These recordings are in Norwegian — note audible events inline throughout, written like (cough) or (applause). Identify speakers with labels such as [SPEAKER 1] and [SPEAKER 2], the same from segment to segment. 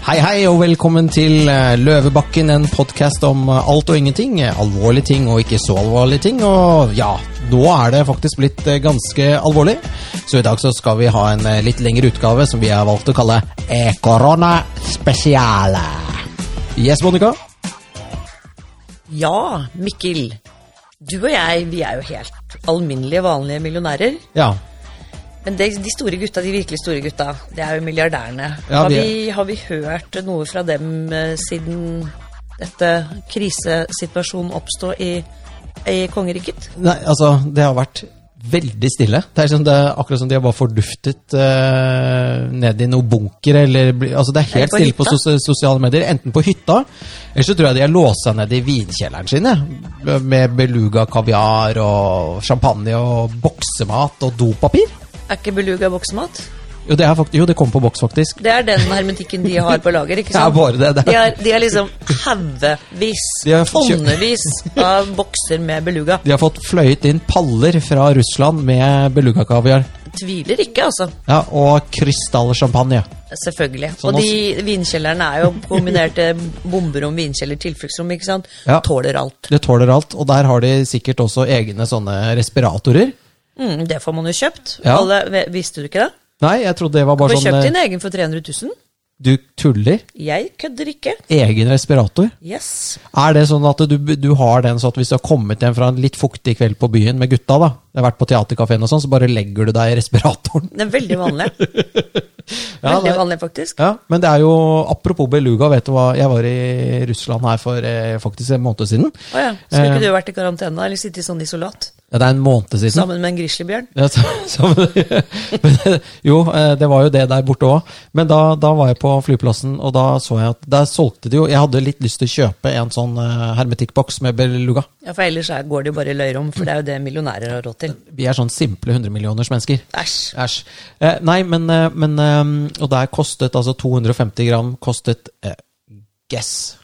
[SPEAKER 1] Hei, hei, og velkommen til eh, Løvebakken, en podkast om eh, alt og ingenting. eh, Alvorlige ting og ikke så alvorlige ting. Og ja, nå er det faktisk blitt eh, ganske alvorlig. Så i dag så skal vi ha en eh, litt lengre utgave som vi har valgt å kalle E E-korona spesiale. Yes, Monica?
[SPEAKER 2] Ja, Mikkel. Du og jeg, vi er jo helt alminnelige, vanlige millionærer.
[SPEAKER 1] Ja.
[SPEAKER 2] Men det, de store gutta, de virkelig store gutta, det er jo milliardærene.
[SPEAKER 1] Ja,
[SPEAKER 2] har,
[SPEAKER 1] vi
[SPEAKER 2] vi,
[SPEAKER 1] er-
[SPEAKER 2] har vi hørt noe fra dem eh, siden dette krisesituasjonen oppstod i, i kongeriket?
[SPEAKER 1] Nei, altså, det har vært veldig stille. Det er, som det, er akkurat som de har bare forduftet eh, ned i noen bunker. Eller, bli- altså, det er helt
[SPEAKER 2] på
[SPEAKER 1] stille på
[SPEAKER 2] hytta?
[SPEAKER 1] sos sosiale medier, enten på hytta, eller så tror jeg de har låst seg ned i vinkjelleren sine. Med beluga kaviar og champagne og boksemat og dopapir.
[SPEAKER 2] Er ikke beluga boksemat?
[SPEAKER 1] Jo, det, er fakt jo, det kom på boks, faktisk.
[SPEAKER 2] Det er den hermetikken de har på lager,
[SPEAKER 1] (laughs)
[SPEAKER 2] ikke
[SPEAKER 1] Det er
[SPEAKER 2] sant?
[SPEAKER 1] bare det. det
[SPEAKER 2] De
[SPEAKER 1] er.
[SPEAKER 2] har, de har liksom haugevis,
[SPEAKER 1] De har kjøpt-
[SPEAKER 2] tonnevis av bokser med beluga.
[SPEAKER 1] De har fått fløyet inn paller fra Russland med beluga-kaviar.
[SPEAKER 2] Tviler ikke, altså.
[SPEAKER 1] Ja, og krystallsjampanje.
[SPEAKER 2] Selvfølgelig.
[SPEAKER 1] Sånn
[SPEAKER 2] og de vinkjellerne er
[SPEAKER 1] (laughs)
[SPEAKER 2] jo kombinerte bomberom, vinkjeller, tilfluktsrom, ikke sant.
[SPEAKER 1] Ja.
[SPEAKER 2] Tåler alt.
[SPEAKER 1] Det tåler alt, og der har de sikkert også egne sånne respiratorer.
[SPEAKER 2] Mm, det får man jo kjøpt.
[SPEAKER 1] Ja.
[SPEAKER 2] Alle, ve- visste du ikke det?
[SPEAKER 1] Nei, jeg trodde det var
[SPEAKER 2] Du
[SPEAKER 1] bare
[SPEAKER 2] får kjøpt
[SPEAKER 1] sånn
[SPEAKER 2] din
[SPEAKER 1] eh,
[SPEAKER 2] egen for 300 000.
[SPEAKER 1] Du tuller?
[SPEAKER 2] Jeg kødder ikke.
[SPEAKER 1] Egen respirator?
[SPEAKER 2] Yes.
[SPEAKER 1] Er det sånn at du, du har den sånn at hvis du har kommet hjem fra en litt fuktig kveld på byen med gutta, da, det har vært på teaterkafeen og sånn, så bare legger du deg i
[SPEAKER 2] (laughs)
[SPEAKER 1] respiratoren?
[SPEAKER 2] Det er veldig vanlig.
[SPEAKER 1] (laughs) Ja,
[SPEAKER 2] Veldig
[SPEAKER 1] det-
[SPEAKER 2] vanlig, faktisk.
[SPEAKER 1] Ja, men det er jo Apropos beluga, vet du hva, jeg var i Russland her for eh, faktisk en måned siden. Eh,
[SPEAKER 2] Å ja. Skulle ikke du vært i karantene da, eller sittet sånn isolat
[SPEAKER 1] Ja, det er en måned siden.
[SPEAKER 2] sammen med en grizzlybjørn?
[SPEAKER 1] Ja, så, så, men, jo, eh, det var jo det der borte òg. Men da, da var jeg på flyplassen, og da så jeg at der solgte de jo Jeg hadde litt lyst til å kjøpe en sånn eh, hermetikkboks med beluga.
[SPEAKER 2] Ja, for ellers er, går det jo bare i løyrom, for det er jo det millionærer har råd til.
[SPEAKER 1] Vi er sånn simple hundremillioners mennesker.
[SPEAKER 2] Æsj.
[SPEAKER 1] Æsj. Eh, nei, men, eh, men eh, Og der kostet altså 250 gram kostet eh, guess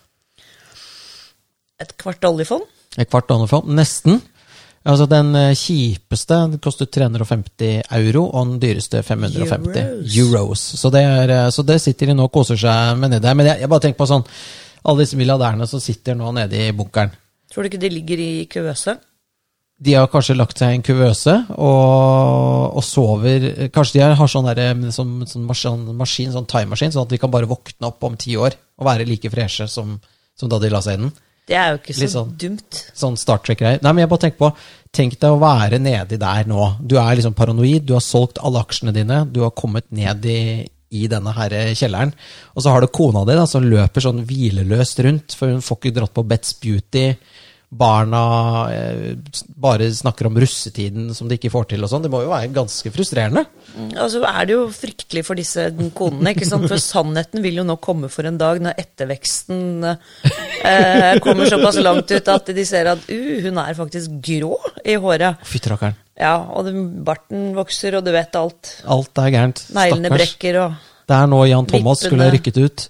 [SPEAKER 2] Et kvart oljefond?
[SPEAKER 1] et kvart donnerfond. Nesten. Altså Den eh, kjipeste den kostet 350 euro, og den dyreste 550 euros.
[SPEAKER 2] Euros.
[SPEAKER 1] Så, det er, eh, så det sitter de nå og koser seg med nedi der. Men jeg, jeg bare tenker på sånn alle disse milliardærene som sitter nå nede i bunkeren.
[SPEAKER 2] Tror du ikke de ligger i kuvøse?
[SPEAKER 1] De har kanskje lagt seg i en kuvøse og, og sover Kanskje de har- har sånn, der, eh, sånn, sånn mas- sånn maskin, sånn timemaskin, sånn at de kan bare våkne opp om ti år og være like freshe som, som da de la seg i den.
[SPEAKER 2] Det er jo ikke så
[SPEAKER 1] Litt sånn.
[SPEAKER 2] dumt.
[SPEAKER 1] Sånn Star Trek-greier. Nei, men jeg bare tenker på Tenk deg å være nedi der nå. Du er liksom paranoid, du har solgt alle aksjene dine, du har kommet ned i, i denne her kjelleren. Og så har du kona di da, som løper sånn hvileløst rundt, for hun får ikke dratt på Bet's Beauty. Barna eh, s- bare snakker om russetiden som de ikke får til og sånn. Det må jo være ganske frustrerende.
[SPEAKER 2] Og så Altså, er det jo fryktelig for disse konene, ikke sant? For sannheten vil jo nå komme for en dag når etterveksten eh, kommer såpass langt ut at de ser at uh, hun er faktisk grå i håret.
[SPEAKER 1] Fy rakkeren.
[SPEAKER 2] Ja, og den barten vokser, og du vet alt.
[SPEAKER 1] Alt er gærent.
[SPEAKER 2] Neglene
[SPEAKER 1] Stakkars.
[SPEAKER 2] brekker og
[SPEAKER 1] Det er nå Jan Thomas skulle
[SPEAKER 2] Vippene.
[SPEAKER 1] rykket ut.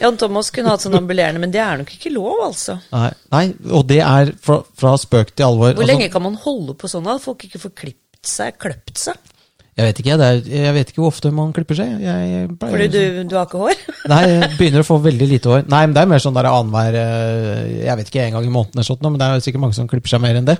[SPEAKER 2] Jan Thomas kunne hatt sånn ambulerende, men det er nok ikke lov, altså.
[SPEAKER 1] Nei, nei, og det er fra, fra spøk til alvor.
[SPEAKER 2] Hvor
[SPEAKER 1] Altså-
[SPEAKER 2] lenge kan man holde på sånn at folk ikke får klipt seg, kløpt seg?
[SPEAKER 1] Jeg vet ikke, det er, jeg vet ikke hvor ofte man klipper seg. Jeg pleier,
[SPEAKER 2] Fordi du, du har ikke hår?
[SPEAKER 1] Nei, jeg begynner å få veldig lite hår. Nei, men det er mer sånn der annenhver eh, Jeg vet ikke, en gang i måneden eller sånt, nå, men det er jo sikkert mange som klipper seg mer enn det.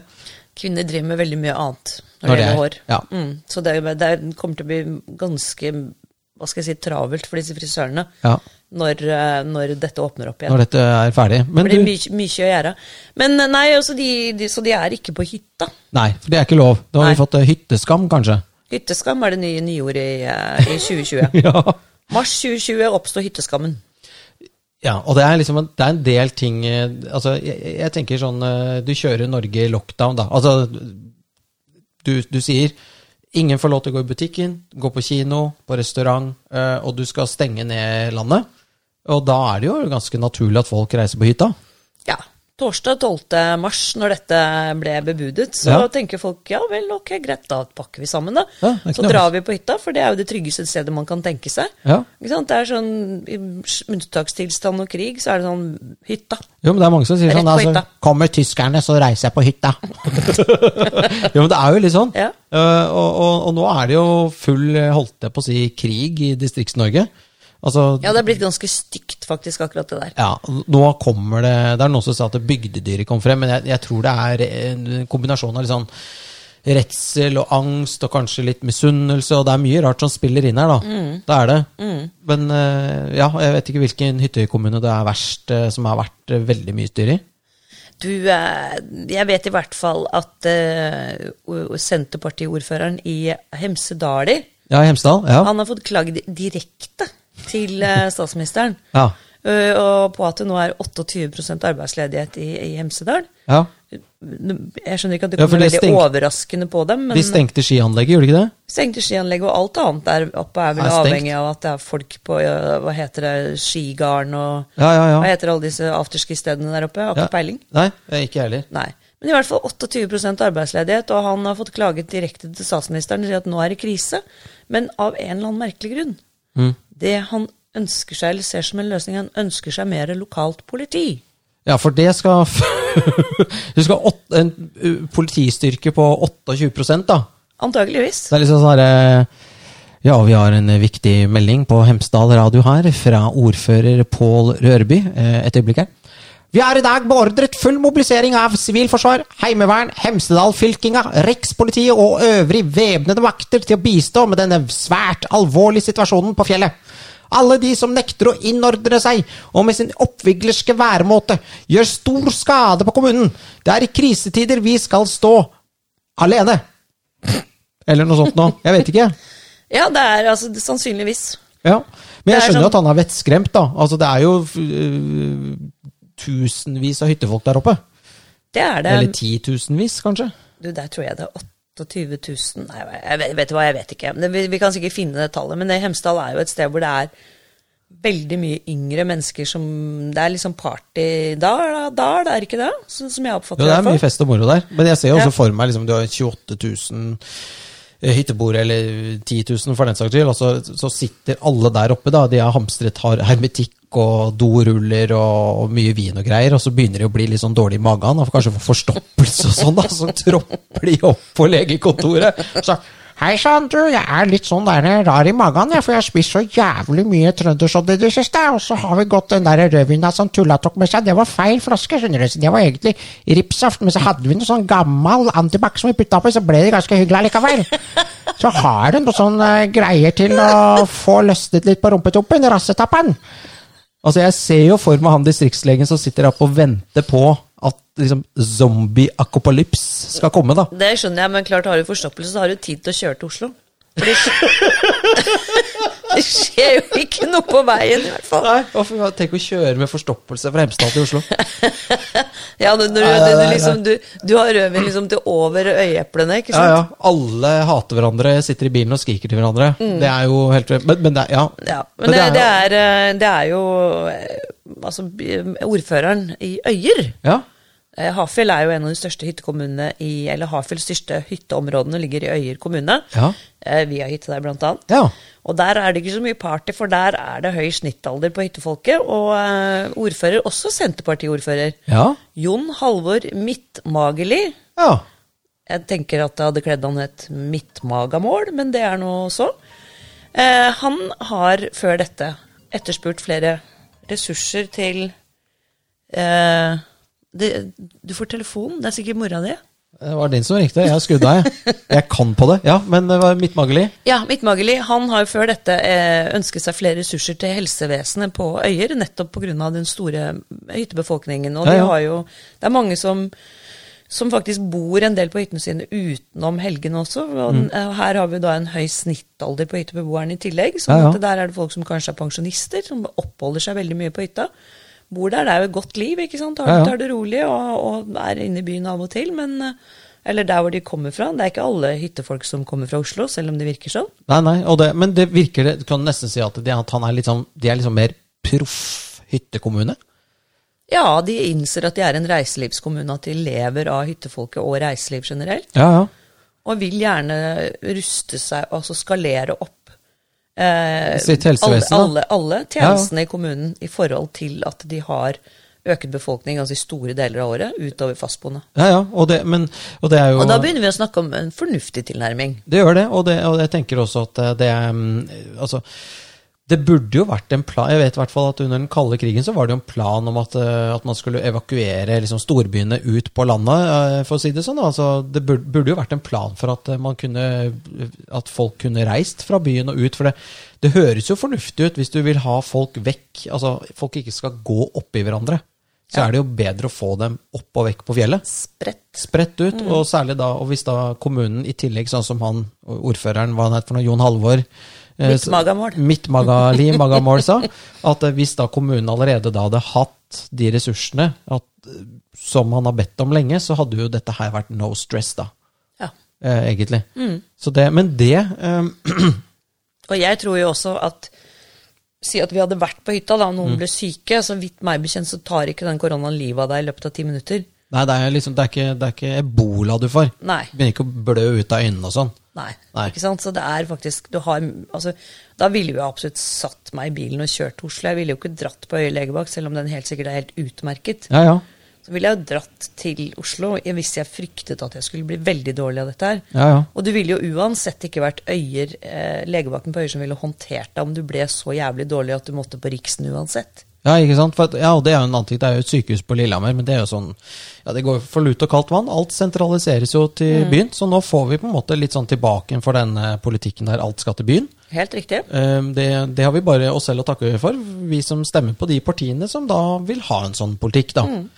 [SPEAKER 2] Kvinner driver med veldig mye annet når,
[SPEAKER 1] Når
[SPEAKER 2] det
[SPEAKER 1] det
[SPEAKER 2] gjelder
[SPEAKER 1] er-
[SPEAKER 2] hår.
[SPEAKER 1] ja.
[SPEAKER 2] Mm, så det, er jo- det er- kommer til å bli ganske hva skal jeg si, travelt for disse frisørene
[SPEAKER 1] Ja,
[SPEAKER 2] når, eh, når dette åpner opp igjen.
[SPEAKER 1] Når dette er ferdig. Men
[SPEAKER 2] det
[SPEAKER 1] du,
[SPEAKER 2] blir mye, mye å gjøre. Men eh, nei, altså de, de, så de er ikke på hytta.
[SPEAKER 1] nei, for det er ikke lov. Da har vi
[SPEAKER 2] Nei.
[SPEAKER 1] fått eh, hytteskam, kanskje.
[SPEAKER 2] Hytteskam er det nye nyordet i, eh,
[SPEAKER 1] (laughs)
[SPEAKER 2] i 2020.
[SPEAKER 1] Ja.
[SPEAKER 2] Mars 2020 oppstår hytteskammen.
[SPEAKER 1] ja, og det er liksom en, det er en del ting eh, Altså, jeg, jeg tenker sånn eh, Du kjører Norge i lockdown, da. Altså, du, du sier ingen får lov til å gå i butikken, gå på kino, på restaurant, eh, og du skal stenge ned landet. Og da er det jo ganske naturlig at folk reiser på hytta.
[SPEAKER 2] Ja. Torsdag 12. mars, når dette ble bebudet, så
[SPEAKER 1] Ja.
[SPEAKER 2] tenker folk ja vel, ok, greit, da pakker vi sammen, da.
[SPEAKER 1] Ja, det er ikke
[SPEAKER 2] så
[SPEAKER 1] noe
[SPEAKER 2] drar vi på hytta, for det er jo det tryggeste stedet man kan tenke seg.
[SPEAKER 1] Ja.
[SPEAKER 2] Ikke sant? Det er sånn I unntakstilstand og krig, så er det sånn hytta.
[SPEAKER 1] Jo, men det er mange som sier
[SPEAKER 2] Rett
[SPEAKER 1] sånn.
[SPEAKER 2] på
[SPEAKER 1] Altså,
[SPEAKER 2] hytta.
[SPEAKER 1] Kommer tyskerne, så reiser jeg på
[SPEAKER 2] (laughs)
[SPEAKER 1] hytta. jo, men det er jo litt sånn.
[SPEAKER 2] Ja.
[SPEAKER 1] Eh, og, og, og nå er det jo full, eh, holdt jeg på å si, krig i Distrikts-Norge. Altså,
[SPEAKER 2] Ja, det er blitt ganske stygt, faktisk, akkurat det der.
[SPEAKER 1] ja, nå kommer det Det er noen som sa at bygdedyret kom frem, men jeg, jeg tror det er en kombinasjon av litt sånn redsel og angst og kanskje litt misunnelse, og det er mye rart som spiller inn her, da. Det er det. Men eh, ja, jeg vet ikke hvilken hyttekommune det er verst, eh, som har vært eh, veldig mye styr i.
[SPEAKER 2] Du, eh, jeg vet i hvert fall at eh, o- Senterpartiordføreren i Hemsedali
[SPEAKER 1] Ja, i Hemsedal. Ja.
[SPEAKER 2] Han har fått klagd direkte til eh, statsministeren
[SPEAKER 1] ja.
[SPEAKER 2] eh, og på at det nå er 28 arbeidsledighet i, i Hemsedal.
[SPEAKER 1] ja.
[SPEAKER 2] Jeg skjønner ikke at det
[SPEAKER 1] Ja, for
[SPEAKER 2] kommer
[SPEAKER 1] det
[SPEAKER 2] veldig
[SPEAKER 1] stengte-
[SPEAKER 2] overraskende på dem,
[SPEAKER 1] De
[SPEAKER 2] men
[SPEAKER 1] stengte skianlegget, gjorde de ikke det?
[SPEAKER 2] stengte skianlegget og alt annet der oppe er vel
[SPEAKER 1] Er stengt.
[SPEAKER 2] avhengig av at det er folk på eh, hva heter det, skigarden og
[SPEAKER 1] Ja, ja, ja.
[SPEAKER 2] hva heter alle disse afterski-stedene der oppe? Jeg har
[SPEAKER 1] Ja.
[SPEAKER 2] ikke peiling.
[SPEAKER 1] Nei, eh, ikke jeg heller.
[SPEAKER 2] Nei. Men i hvert fall 28 arbeidsledighet, og han har fått klaget direkte til statsministeren og sier at nå er det krise, men av en eller annen merkelig grunn.
[SPEAKER 1] Mm.
[SPEAKER 2] Det han ønsker seg, eller ser som en løsning, han ønsker seg mer lokalt politi.
[SPEAKER 1] Ja, for det skal (laughs) Du skal ha åt- en uh, politistyrke på 28 da.
[SPEAKER 2] Antageligvis.
[SPEAKER 1] Så det er liksom sånn herre Ja, vi har en viktig melding på Hemsedal radio her fra ordfører Pål Rørby. eh, Et øyeblikk her. Vi er i dag beordret full mobilisering av sivilforsvar, heimevern, Hemsedal-fylkinga, rikspolitiet og øvrig væpnede makter til å bistå med denne svært alvorlige situasjonen på fjellet. Alle de som nekter å innordne seg og med sin oppviglerske væremåte gjør stor skade på kommunen. Det er i krisetider vi skal stå alene. Eller noe sånt nå. Jeg vet ikke.
[SPEAKER 2] Ja, det er altså det- sannsynligvis.
[SPEAKER 1] Ja. Men
[SPEAKER 2] Det
[SPEAKER 1] jeg
[SPEAKER 2] er
[SPEAKER 1] skjønner
[SPEAKER 2] sånn-
[SPEAKER 1] jo at han er vettskremt, da. Altså, det er jo øh, tusenvis av hyttefolk der oppe.
[SPEAKER 2] Det er det.
[SPEAKER 1] Eller titusenvis, kanskje.
[SPEAKER 2] Du, der tror jeg det er 28 000 Nei, jeg vet, vet du hva, jeg vet ikke. Men Vi, vi kan sikkert finne det tallet, men det, Hemsedal er jo et sted hvor det er veldig mye yngre mennesker som Det er liksom party da, da, da det er ikke det? Sånn som jeg
[SPEAKER 1] Jo,
[SPEAKER 2] oppfatter
[SPEAKER 1] det er
[SPEAKER 2] i hvert
[SPEAKER 1] mye
[SPEAKER 2] fall.
[SPEAKER 1] fest og moro der. Men jeg ser jo
[SPEAKER 2] Ja.
[SPEAKER 1] også for meg liksom, du har 28 000 hytteboere, eller 10 000 for den saks skyld, og så, så sitter alle der oppe, da. De har hamstret har hermetikk og doruller og, og mye vin og greier, og så begynner de å bli litt sånn dårlig i magen, og kanskje får forstoppelse og sånn, da. Så (laughs) tropper de opp på legekontoret. Så Hei sann, du, jeg er litt sånn der rar i magen, jeg, for jeg har spist så jævlig mye trøndersodd i det siste, og så har vi gått den der rødvina som tulla tok med seg, det var feil flaske, skjønner du, så det var egentlig ripsaft, men så hadde vi noe sånn gammel antibac som vi putta oppi, så ble det ganske hyggelig (laughs) allikevel. Så har hun noe sånn eh, greier til å få løsnet litt på rumpetuppen, rassetapperen. Altså, jeg ser jo for meg han distriktslegen som sitter oppe og venter på at liksom zombie-akopalyps skal komme, da.
[SPEAKER 2] Det skjønner jeg, men klart har du forstoppelse, så har du tid til å kjøre til Oslo. For det, skj- (laughs) det skjer jo ikke noe på veien, i hvert fall.
[SPEAKER 1] Nei, hvorfor- tenk å kjøre med forstoppelse fra Hemsedal til
[SPEAKER 2] (laughs)
[SPEAKER 1] Oslo.
[SPEAKER 2] Ja, når, når,
[SPEAKER 1] Nei, nei,
[SPEAKER 2] du,
[SPEAKER 1] nei,
[SPEAKER 2] du, liksom, du, du har rødvin liksom til over øyeeplene, ikke
[SPEAKER 1] Ja,
[SPEAKER 2] sant?
[SPEAKER 1] ja. Alle hater hverandre, sitter i bilen og skriker til hverandre. Det er jo helt Men, men det er, ja.
[SPEAKER 2] Mm. Ja, men det, det, er, eh, det er jo eh, altså, b- ordføreren i Øyer.
[SPEAKER 1] Ja.
[SPEAKER 2] Eh, Hafjell er jo en av de største hyttekommunene i Eller Hafjells største hytteområdene ligger i Øyer kommune.
[SPEAKER 1] Ja.
[SPEAKER 2] Eh, Vi har hytte der, blant annet.
[SPEAKER 1] ja.
[SPEAKER 2] Og der er det ikke så mye party, for der er det høy snittalder på hyttefolket. Og eh, ordfører, også Senterpartiordfører,
[SPEAKER 1] Ja.
[SPEAKER 2] Jon Halvor Midtmageli.
[SPEAKER 1] Ja.
[SPEAKER 2] Jeg tenker at det hadde kledd han et midtmagamål, men det er nå så. Eh, han har før dette etterspurt flere ressurser til eh, det, Du får telefon, det er sikkert mora di.
[SPEAKER 1] Det var din som ringte. Jeg skrudde av,
[SPEAKER 2] (laughs)
[SPEAKER 1] jeg. Jeg kan på det. Ja, men det var midtmageli.
[SPEAKER 2] Ja, Midtmageli han har jo før dette eh, ønsket seg flere ressurser til helsevesenet på Øyer, nettopp pga. den store mm, hyttebefolkningen. Og
[SPEAKER 1] Ja, ja.
[SPEAKER 2] De har jo, det er mange som, som faktisk bor en del på hyttene sine utenom helgene også. Og
[SPEAKER 1] Mm.
[SPEAKER 2] den- eh, Her har vi da en høy snittalder på hyttebeboerne i tillegg. Så
[SPEAKER 1] Ja, ja.
[SPEAKER 2] at der er det folk som kanskje er pensjonister, som oppholder seg veldig mye på hytta. Bor der, det er jo et godt liv, ikke sant. Tar,
[SPEAKER 1] Ja, ja.
[SPEAKER 2] tar det rolig og, og er inne i byen av og til. men... eh, Eller der hvor de kommer fra. Det er ikke alle hyttefolk som kommer fra Oslo, selv om det virker sånn.
[SPEAKER 1] Nei, nei, og det, men det virker det, Du kan nesten si at, det, at han er litt sånn, de er liksom mer proff hyttekommune.
[SPEAKER 2] Ja, de innser at de er en reiselivskommune, at de lever av hyttefolket og reiseliv generelt,
[SPEAKER 1] Ja, ja.
[SPEAKER 2] og vil gjerne ruste seg, altså skalere opp eh,
[SPEAKER 1] Sitt helsevesen, da.
[SPEAKER 2] alle, alle, alle tjenestene i kommunen i forhold til at de har øket befolkning altså i store deler av året utover fastboende.
[SPEAKER 1] ja, ja og, det, men, og det er jo
[SPEAKER 2] Og da begynner vi å snakke om en fornuftig tilnærming.
[SPEAKER 1] Det gjør det, og, det, og jeg tenker også at eh, det mm, Altså, Det burde jo vært en plan Jeg vet i hvert fall at under den kalde krigen så var det jo en plan om at, eh, at man skulle evakuere liksom storbyene ut på landet, eh, for å si det sånn. Altså, det bur- burde jo vært en plan for at, eh, man kunne, at folk kunne reist fra byen og ut. For det, det høres jo fornuftig ut hvis du vil ha folk vekk, altså folk ikke skal gå oppi hverandre. Så er det jo bedre å få dem opp og vekk på fjellet
[SPEAKER 2] Spredt.
[SPEAKER 1] spredt ut, og særlig da, og hvis da kommunen i tillegg, sånn som han, ordføreren, hva han het for noe, Jon Halvor eh, s-
[SPEAKER 2] Midtmagamål.
[SPEAKER 1] Midtmagali Magamål sa, at eh, hvis da kommunen allerede da hadde hatt de ressursene at, eh, som han har bedt om lenge, så hadde jo dette her vært no stress da,
[SPEAKER 2] Ja.
[SPEAKER 1] eh, egentlig. Så det, men det, eh,
[SPEAKER 2] Og jeg tror jo også at Si at vi hadde vært på hytta, da, og
[SPEAKER 1] Mm.
[SPEAKER 2] noen ble syke. Så vidt meg bekjent så tar ikke den koronaen livet av deg i løpet av ti minutter.
[SPEAKER 1] nei, det er liksom, det er ikke, det er ikke ebola du får.
[SPEAKER 2] Nei.
[SPEAKER 1] Du begynner ikke å blø ut av øynene og sånn.
[SPEAKER 2] Nei.
[SPEAKER 1] Nei.
[SPEAKER 2] Ikke sant? Så det er faktisk du har, altså, Da ville jo jeg absolutt satt meg i bilen og kjørt til Oslo. Jeg ville jo ikke dratt på Øye legevakt, selv om den helt sikkert er helt utmerket.
[SPEAKER 1] Ja, ja.
[SPEAKER 2] Så ville jeg jo dratt til Oslo jeg- hvis jeg fryktet at jeg skulle bli veldig dårlig av dette her.
[SPEAKER 1] Ja, ja.
[SPEAKER 2] Og du ville jo uansett ikke vært øyer, eh, legevakten på Øyer som ville håndtert deg om du ble så jævlig dårlig at du måtte på Riksen uansett.
[SPEAKER 1] Ja, ikke sant? For, at- ja, og det er jo en annen ting. Det er jo et sykehus på Lillehammer, men det er jo sånn Ja, det går for lut og kaldt vann. Alt sentraliseres jo til byen, så nå får vi på en måte litt sånn tilbake igjen for den eh, politikken der alt skal til byen.
[SPEAKER 2] Helt riktig.
[SPEAKER 1] Ehm, Det, det har vi bare oss selv å takke for, vi som stemmer på de partiene som da vil ha en sånn politikk, da. Ehm,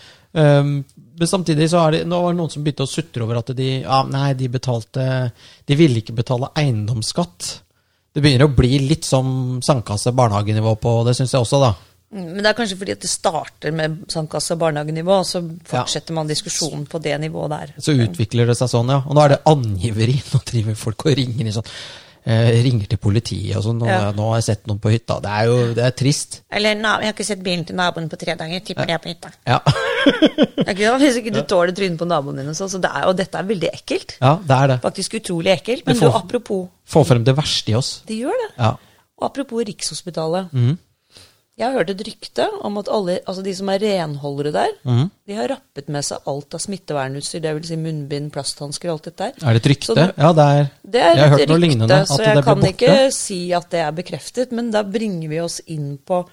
[SPEAKER 1] men samtidig så er det, nå var det noen som begynte å sutre over at de ja, nei, de betalte De ville ikke betale eiendomsskatt. Det begynner å bli litt som sandkasse-barnehagenivå på det, syns jeg også, da.
[SPEAKER 2] Men det er kanskje fordi at det starter med sandkasse- og barnehagenivå, og så fortsetter man diskusjonen på det nivået der.
[SPEAKER 1] Så utvikler det seg sånn, ja. Og nå er det angiveri. (laughs) Nå driver folk og ringer inn sånn. Eh, ringer til politiet og sånn. Og
[SPEAKER 2] Ja.
[SPEAKER 1] Nå har jeg sett noen på hytta. Det er jo det er trist.
[SPEAKER 2] Eller na- jeg har ikke sett bilen til naboen på tre dager, jeg tipper det er på hytta.
[SPEAKER 1] Ja. (laughs)
[SPEAKER 2] Ikke sant? Hvis ikke du tåler trynet på naboen din og sånn, så det er, og dette er veldig ekkelt.
[SPEAKER 1] ja, det er det.
[SPEAKER 2] Faktisk utrolig ekkelt, men
[SPEAKER 1] Det får-
[SPEAKER 2] du, apropos,
[SPEAKER 1] Få frem det verste i oss.
[SPEAKER 2] det gjør det.
[SPEAKER 1] Ja. Mhm.
[SPEAKER 2] Og apropos Rikshospitalet. Jeg har hørt et rykte om at alle, altså de som er renholdere der,
[SPEAKER 1] Mhm.
[SPEAKER 2] de har rappet med seg alt av smittevernutstyr, det vil si munnbind, plasthansker og alt dette der.
[SPEAKER 1] Er det et
[SPEAKER 2] Så
[SPEAKER 1] rykte? Ja, det er
[SPEAKER 2] Det er
[SPEAKER 1] Jeg har
[SPEAKER 2] et
[SPEAKER 1] hørt noe
[SPEAKER 2] rykte,
[SPEAKER 1] lignende. At
[SPEAKER 2] så
[SPEAKER 1] det
[SPEAKER 2] jeg
[SPEAKER 1] ble
[SPEAKER 2] kan
[SPEAKER 1] borte.
[SPEAKER 2] ikke si at det er bekreftet, men da bringer vi oss inn på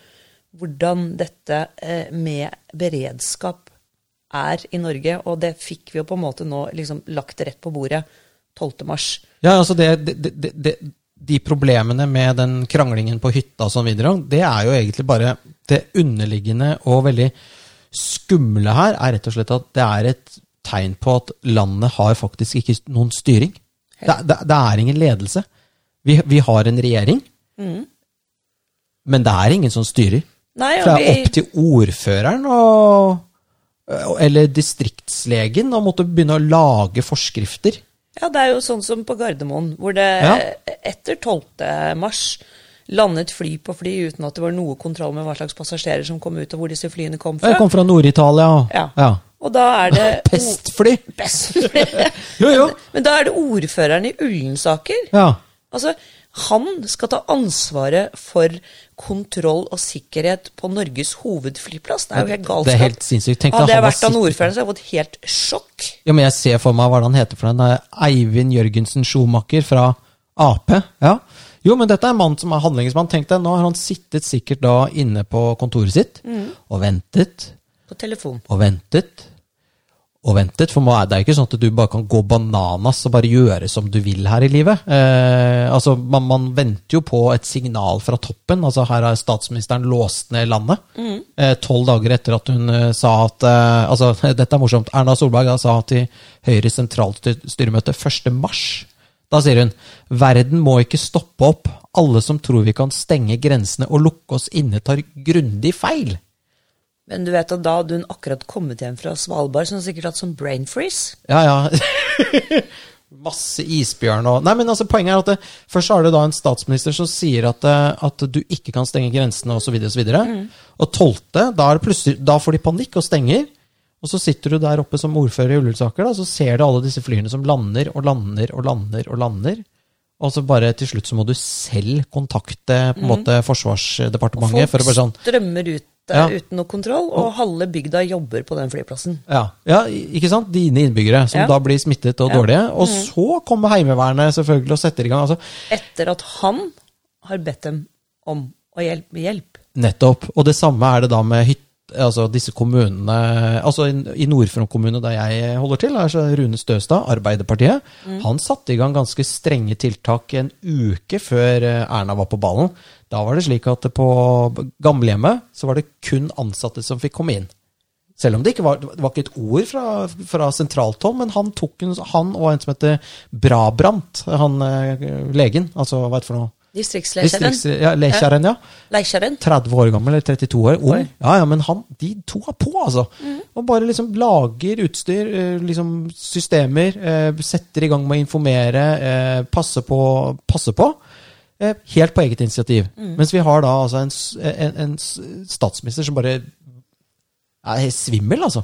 [SPEAKER 2] hvordan dette eh, med beredskap er i Norge, og det fikk vi jo på en måte nå liksom lagt rett på bordet 12. mars.
[SPEAKER 1] Ja, altså det, det, det, det, De problemene med den kranglingen på hytta og sånn videre, det er jo egentlig bare det underliggende og veldig skumle her, er rett og slett at det er et tegn på at landet har faktisk ikke noen styring. Det, det, det er ingen ledelse. Vi, vi har en regjering, men det er ingen som styrer.
[SPEAKER 2] Mm. Nei,
[SPEAKER 1] For
[SPEAKER 2] og
[SPEAKER 1] det er
[SPEAKER 2] vi-
[SPEAKER 1] opp til ordføreren og, eller distriktslegen å måtte begynne å lage forskrifter.
[SPEAKER 2] Ja, det er jo sånn som på Gardermoen, hvor det etter 12. mars landet fly på fly uten at det var noe kontroll med hva slags passasjerer som kom ut, og hvor disse flyene kom
[SPEAKER 1] Jeg
[SPEAKER 2] fra.
[SPEAKER 1] kom fra Nord-Italia. og-
[SPEAKER 2] Ja.
[SPEAKER 1] Ja.
[SPEAKER 2] Og da er det
[SPEAKER 1] (laughs) Pestfly!
[SPEAKER 2] Pest. (laughs)
[SPEAKER 1] Jo, jo.
[SPEAKER 2] Men da er det ordføreren i Ullensaker.
[SPEAKER 1] Ja.
[SPEAKER 2] Altså, han skal ta ansvaret for kontroll og sikkerhet på Norges hovedflyplass. Det er jo helt galskap.
[SPEAKER 1] Det er helt sinnssykt. Tenk deg,
[SPEAKER 2] Hadde
[SPEAKER 1] han
[SPEAKER 2] jeg
[SPEAKER 1] har
[SPEAKER 2] vært han
[SPEAKER 1] sittet-
[SPEAKER 2] ordføreren, så hadde jeg fått helt sjokk.
[SPEAKER 1] ja, men jeg ser for meg hva han heter for den eh, Eivind Jørgensen Schomaker fra Ap. Ja. Jo, men dette er en mann som er handlingsmann. Tenk deg, nå har han sittet sikkert da inne på kontoret sitt og ventet
[SPEAKER 2] På telefon.
[SPEAKER 1] og ventet og ventet. For man er- det er jo ikke sånn at du bare kan gå bananas og bare gjøre som du vil her i livet. Eh, altså, man, man venter jo på et signal fra toppen. Altså, her har statsministeren låst ned landet. Eh, Tolv dager etter at hun eh, sa at eh, altså, (laughs) Dette er morsomt. Erna Solberg da, sa til Høyres sentralstyremøte 1. mars da sier hun verden må ikke stoppe opp. Alle som tror vi kan stenge grensene og lukke oss inne, tar grundig feil.
[SPEAKER 2] Men du vet at da hadde hun akkurat kommet hjem fra Svalbard, så hun hadde sikkert hatt sånn brain freeze.
[SPEAKER 1] Ja, (laughs) ja. Masse isbjørn og Nei, men altså, poenget er at det, først så har du da en statsminister som sier at, eh, at du ikke kan stenge grensene osv. Og, så videre, og, så videre. og tolvte, da, er det plutselig- da får de panikk og stenger. Og så sitter du der oppe som ordfører i Ullensaker, da, så ser du alle disse flyene som lander og lander og lander og lander. Og så bare til slutt så må du selv kontakte på en måte Forsvarsdepartementet for å bare sånn
[SPEAKER 2] strømmer ut der
[SPEAKER 1] Ja.
[SPEAKER 2] uten noe kontroll, og halve bygda jobber på den flyplassen.
[SPEAKER 1] Ja, ja, i- ikke sant? Dine innbyggere, som
[SPEAKER 2] Ja. Mm.
[SPEAKER 1] da blir smittet og dårlige. Og så kommer Heimevernet selvfølgelig og setter i gang. Altså,
[SPEAKER 2] Etter at han har bedt dem om og hjelp, hjelp.
[SPEAKER 1] Nettopp. Og det samme er det da med hytt, altså disse kommunene altså I, i Nord-Fron kommune, der jeg holder til, er så Rune Støstad, Arbeiderpartiet, han satte i gang ganske strenge tiltak en uke før eh, Erna var på ballen. Da var det slik at på gamlehjemmet så var det kun ansatte som fikk komme inn. Selv om det ikke var, det var ikke et ord fra, fra sentralt hold, men han tok en, han og en som heter Brabrant, han eh, legen, altså hva er det for noe?
[SPEAKER 2] Distriktsleseren.
[SPEAKER 1] Distrikts- Ja, lekjæren, ja.
[SPEAKER 2] Leikjæren.
[SPEAKER 1] 30 år gammel, eller 32 år, ung.
[SPEAKER 2] Oi.
[SPEAKER 1] Ja, ja, men han, de to er på, altså. Og bare liksom lager utstyr, eh, liksom systemer, eh, setter i gang med å informere, eh, passer på, passer på. eh, Helt på eget initiativ. Mens vi har da altså en, s- en, en s- statsminister som bare er helt svimmel, altså.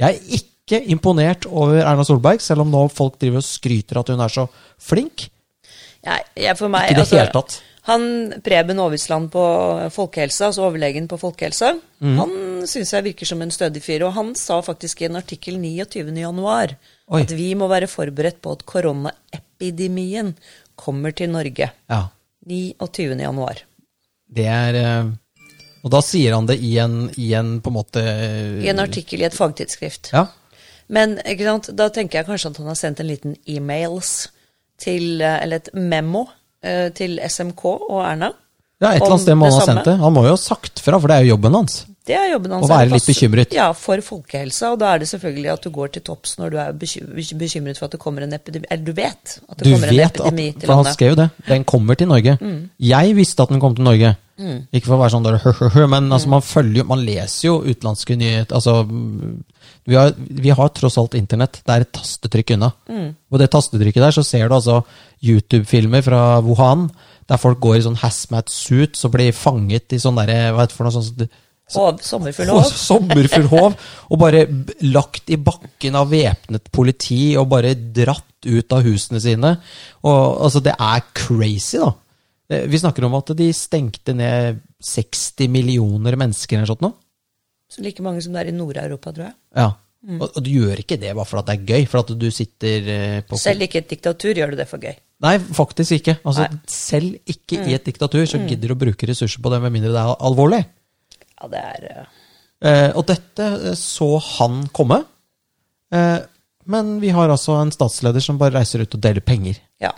[SPEAKER 1] Jeg er ikke imponert over Erna Solberg, selv om nå folk driver og skryter at hun er så flink.
[SPEAKER 2] Nei, jeg, for
[SPEAKER 1] Ikke
[SPEAKER 2] meg,
[SPEAKER 1] i det
[SPEAKER 2] altså,
[SPEAKER 1] hele tatt.
[SPEAKER 2] Han Preben Aavitsland på folkehelsa, altså overlegen på folkehelsa,
[SPEAKER 1] Mhm.
[SPEAKER 2] han syns jeg virker som en stødig fyr. Og han sa faktisk i en artikkel 29. januar
[SPEAKER 1] Oi.
[SPEAKER 2] at vi må være forberedt på at koronaepidemien kommer til Norge.
[SPEAKER 1] Ja.
[SPEAKER 2] 29. januar.
[SPEAKER 1] Det er eh, Og da sier han det i en, i en på en måte
[SPEAKER 2] I en artikkel i et fagtidsskrift.
[SPEAKER 1] Ja.
[SPEAKER 2] Men ikke sant, da tenker jeg kanskje at han har sendt en liten e-mails til, eh, eller et memo eh, til SMK og Erna.
[SPEAKER 1] ja, et eller
[SPEAKER 2] om
[SPEAKER 1] annet sted må han ha
[SPEAKER 2] samme.
[SPEAKER 1] sendt det. Han må jo ha sagt fra, for det er jo jobben hans.
[SPEAKER 2] Det er jobben hans.
[SPEAKER 1] Å være
[SPEAKER 2] Er å
[SPEAKER 1] litt
[SPEAKER 2] passe-
[SPEAKER 1] bekymret.
[SPEAKER 2] Ja, for folkehelsa. Og da er det selvfølgelig at du går til topps når du er beky- beky- bekymret for at det kommer en epidemi Eller du vet at det
[SPEAKER 1] Du
[SPEAKER 2] kommer en
[SPEAKER 1] vet at
[SPEAKER 2] epidemi til
[SPEAKER 1] For han
[SPEAKER 2] landet. Mm.
[SPEAKER 1] skrev jo det. Den kommer til Norge. Jeg visste at den kom til Norge. Ikke for å være sånn der, hø, hø, hø, men
[SPEAKER 2] Mm.
[SPEAKER 1] altså, man følger jo Man leser jo utenlandske nyheter altså, mm, vi, har, vi har tross alt internett. Det er et tastetrykk unna.
[SPEAKER 2] Mm.
[SPEAKER 1] Og det tastetrykket der, så ser du altså YouTube-filmer fra Wuhan, der folk går i sånn hazmat suits og blir fanget i sånn derre Hva heter det for noe sånn- sånt
[SPEAKER 2] Hov, sommerfugl
[SPEAKER 1] Og
[SPEAKER 2] og
[SPEAKER 1] (laughs) sommerfull hov, og bare b- lagt i bakken av væpnet politi, og bare dratt ut av husene sine. Og, altså, det er crazy, da. Eh, Vi snakker om at de stengte ned 60 millioner mennesker eller noe sånt nå.
[SPEAKER 2] Like mange som det er i Nord-Europa, tror jeg.
[SPEAKER 1] Ja. Og, og du gjør ikke det bare for at det er gøy, for at du sitter eh, på
[SPEAKER 2] Selv ikke i et diktatur gjør du det for gøy.
[SPEAKER 1] Nei, faktisk ikke. Altså, selv ikke i et diktatur så gidder du å bruke ressurser på det, med mindre det er alvorlig.
[SPEAKER 2] Ja, det er eh,
[SPEAKER 1] Eh, og dette eh, så han komme. Eh, men vi har altså en statsleder som bare reiser ut og deler penger.
[SPEAKER 2] Ja.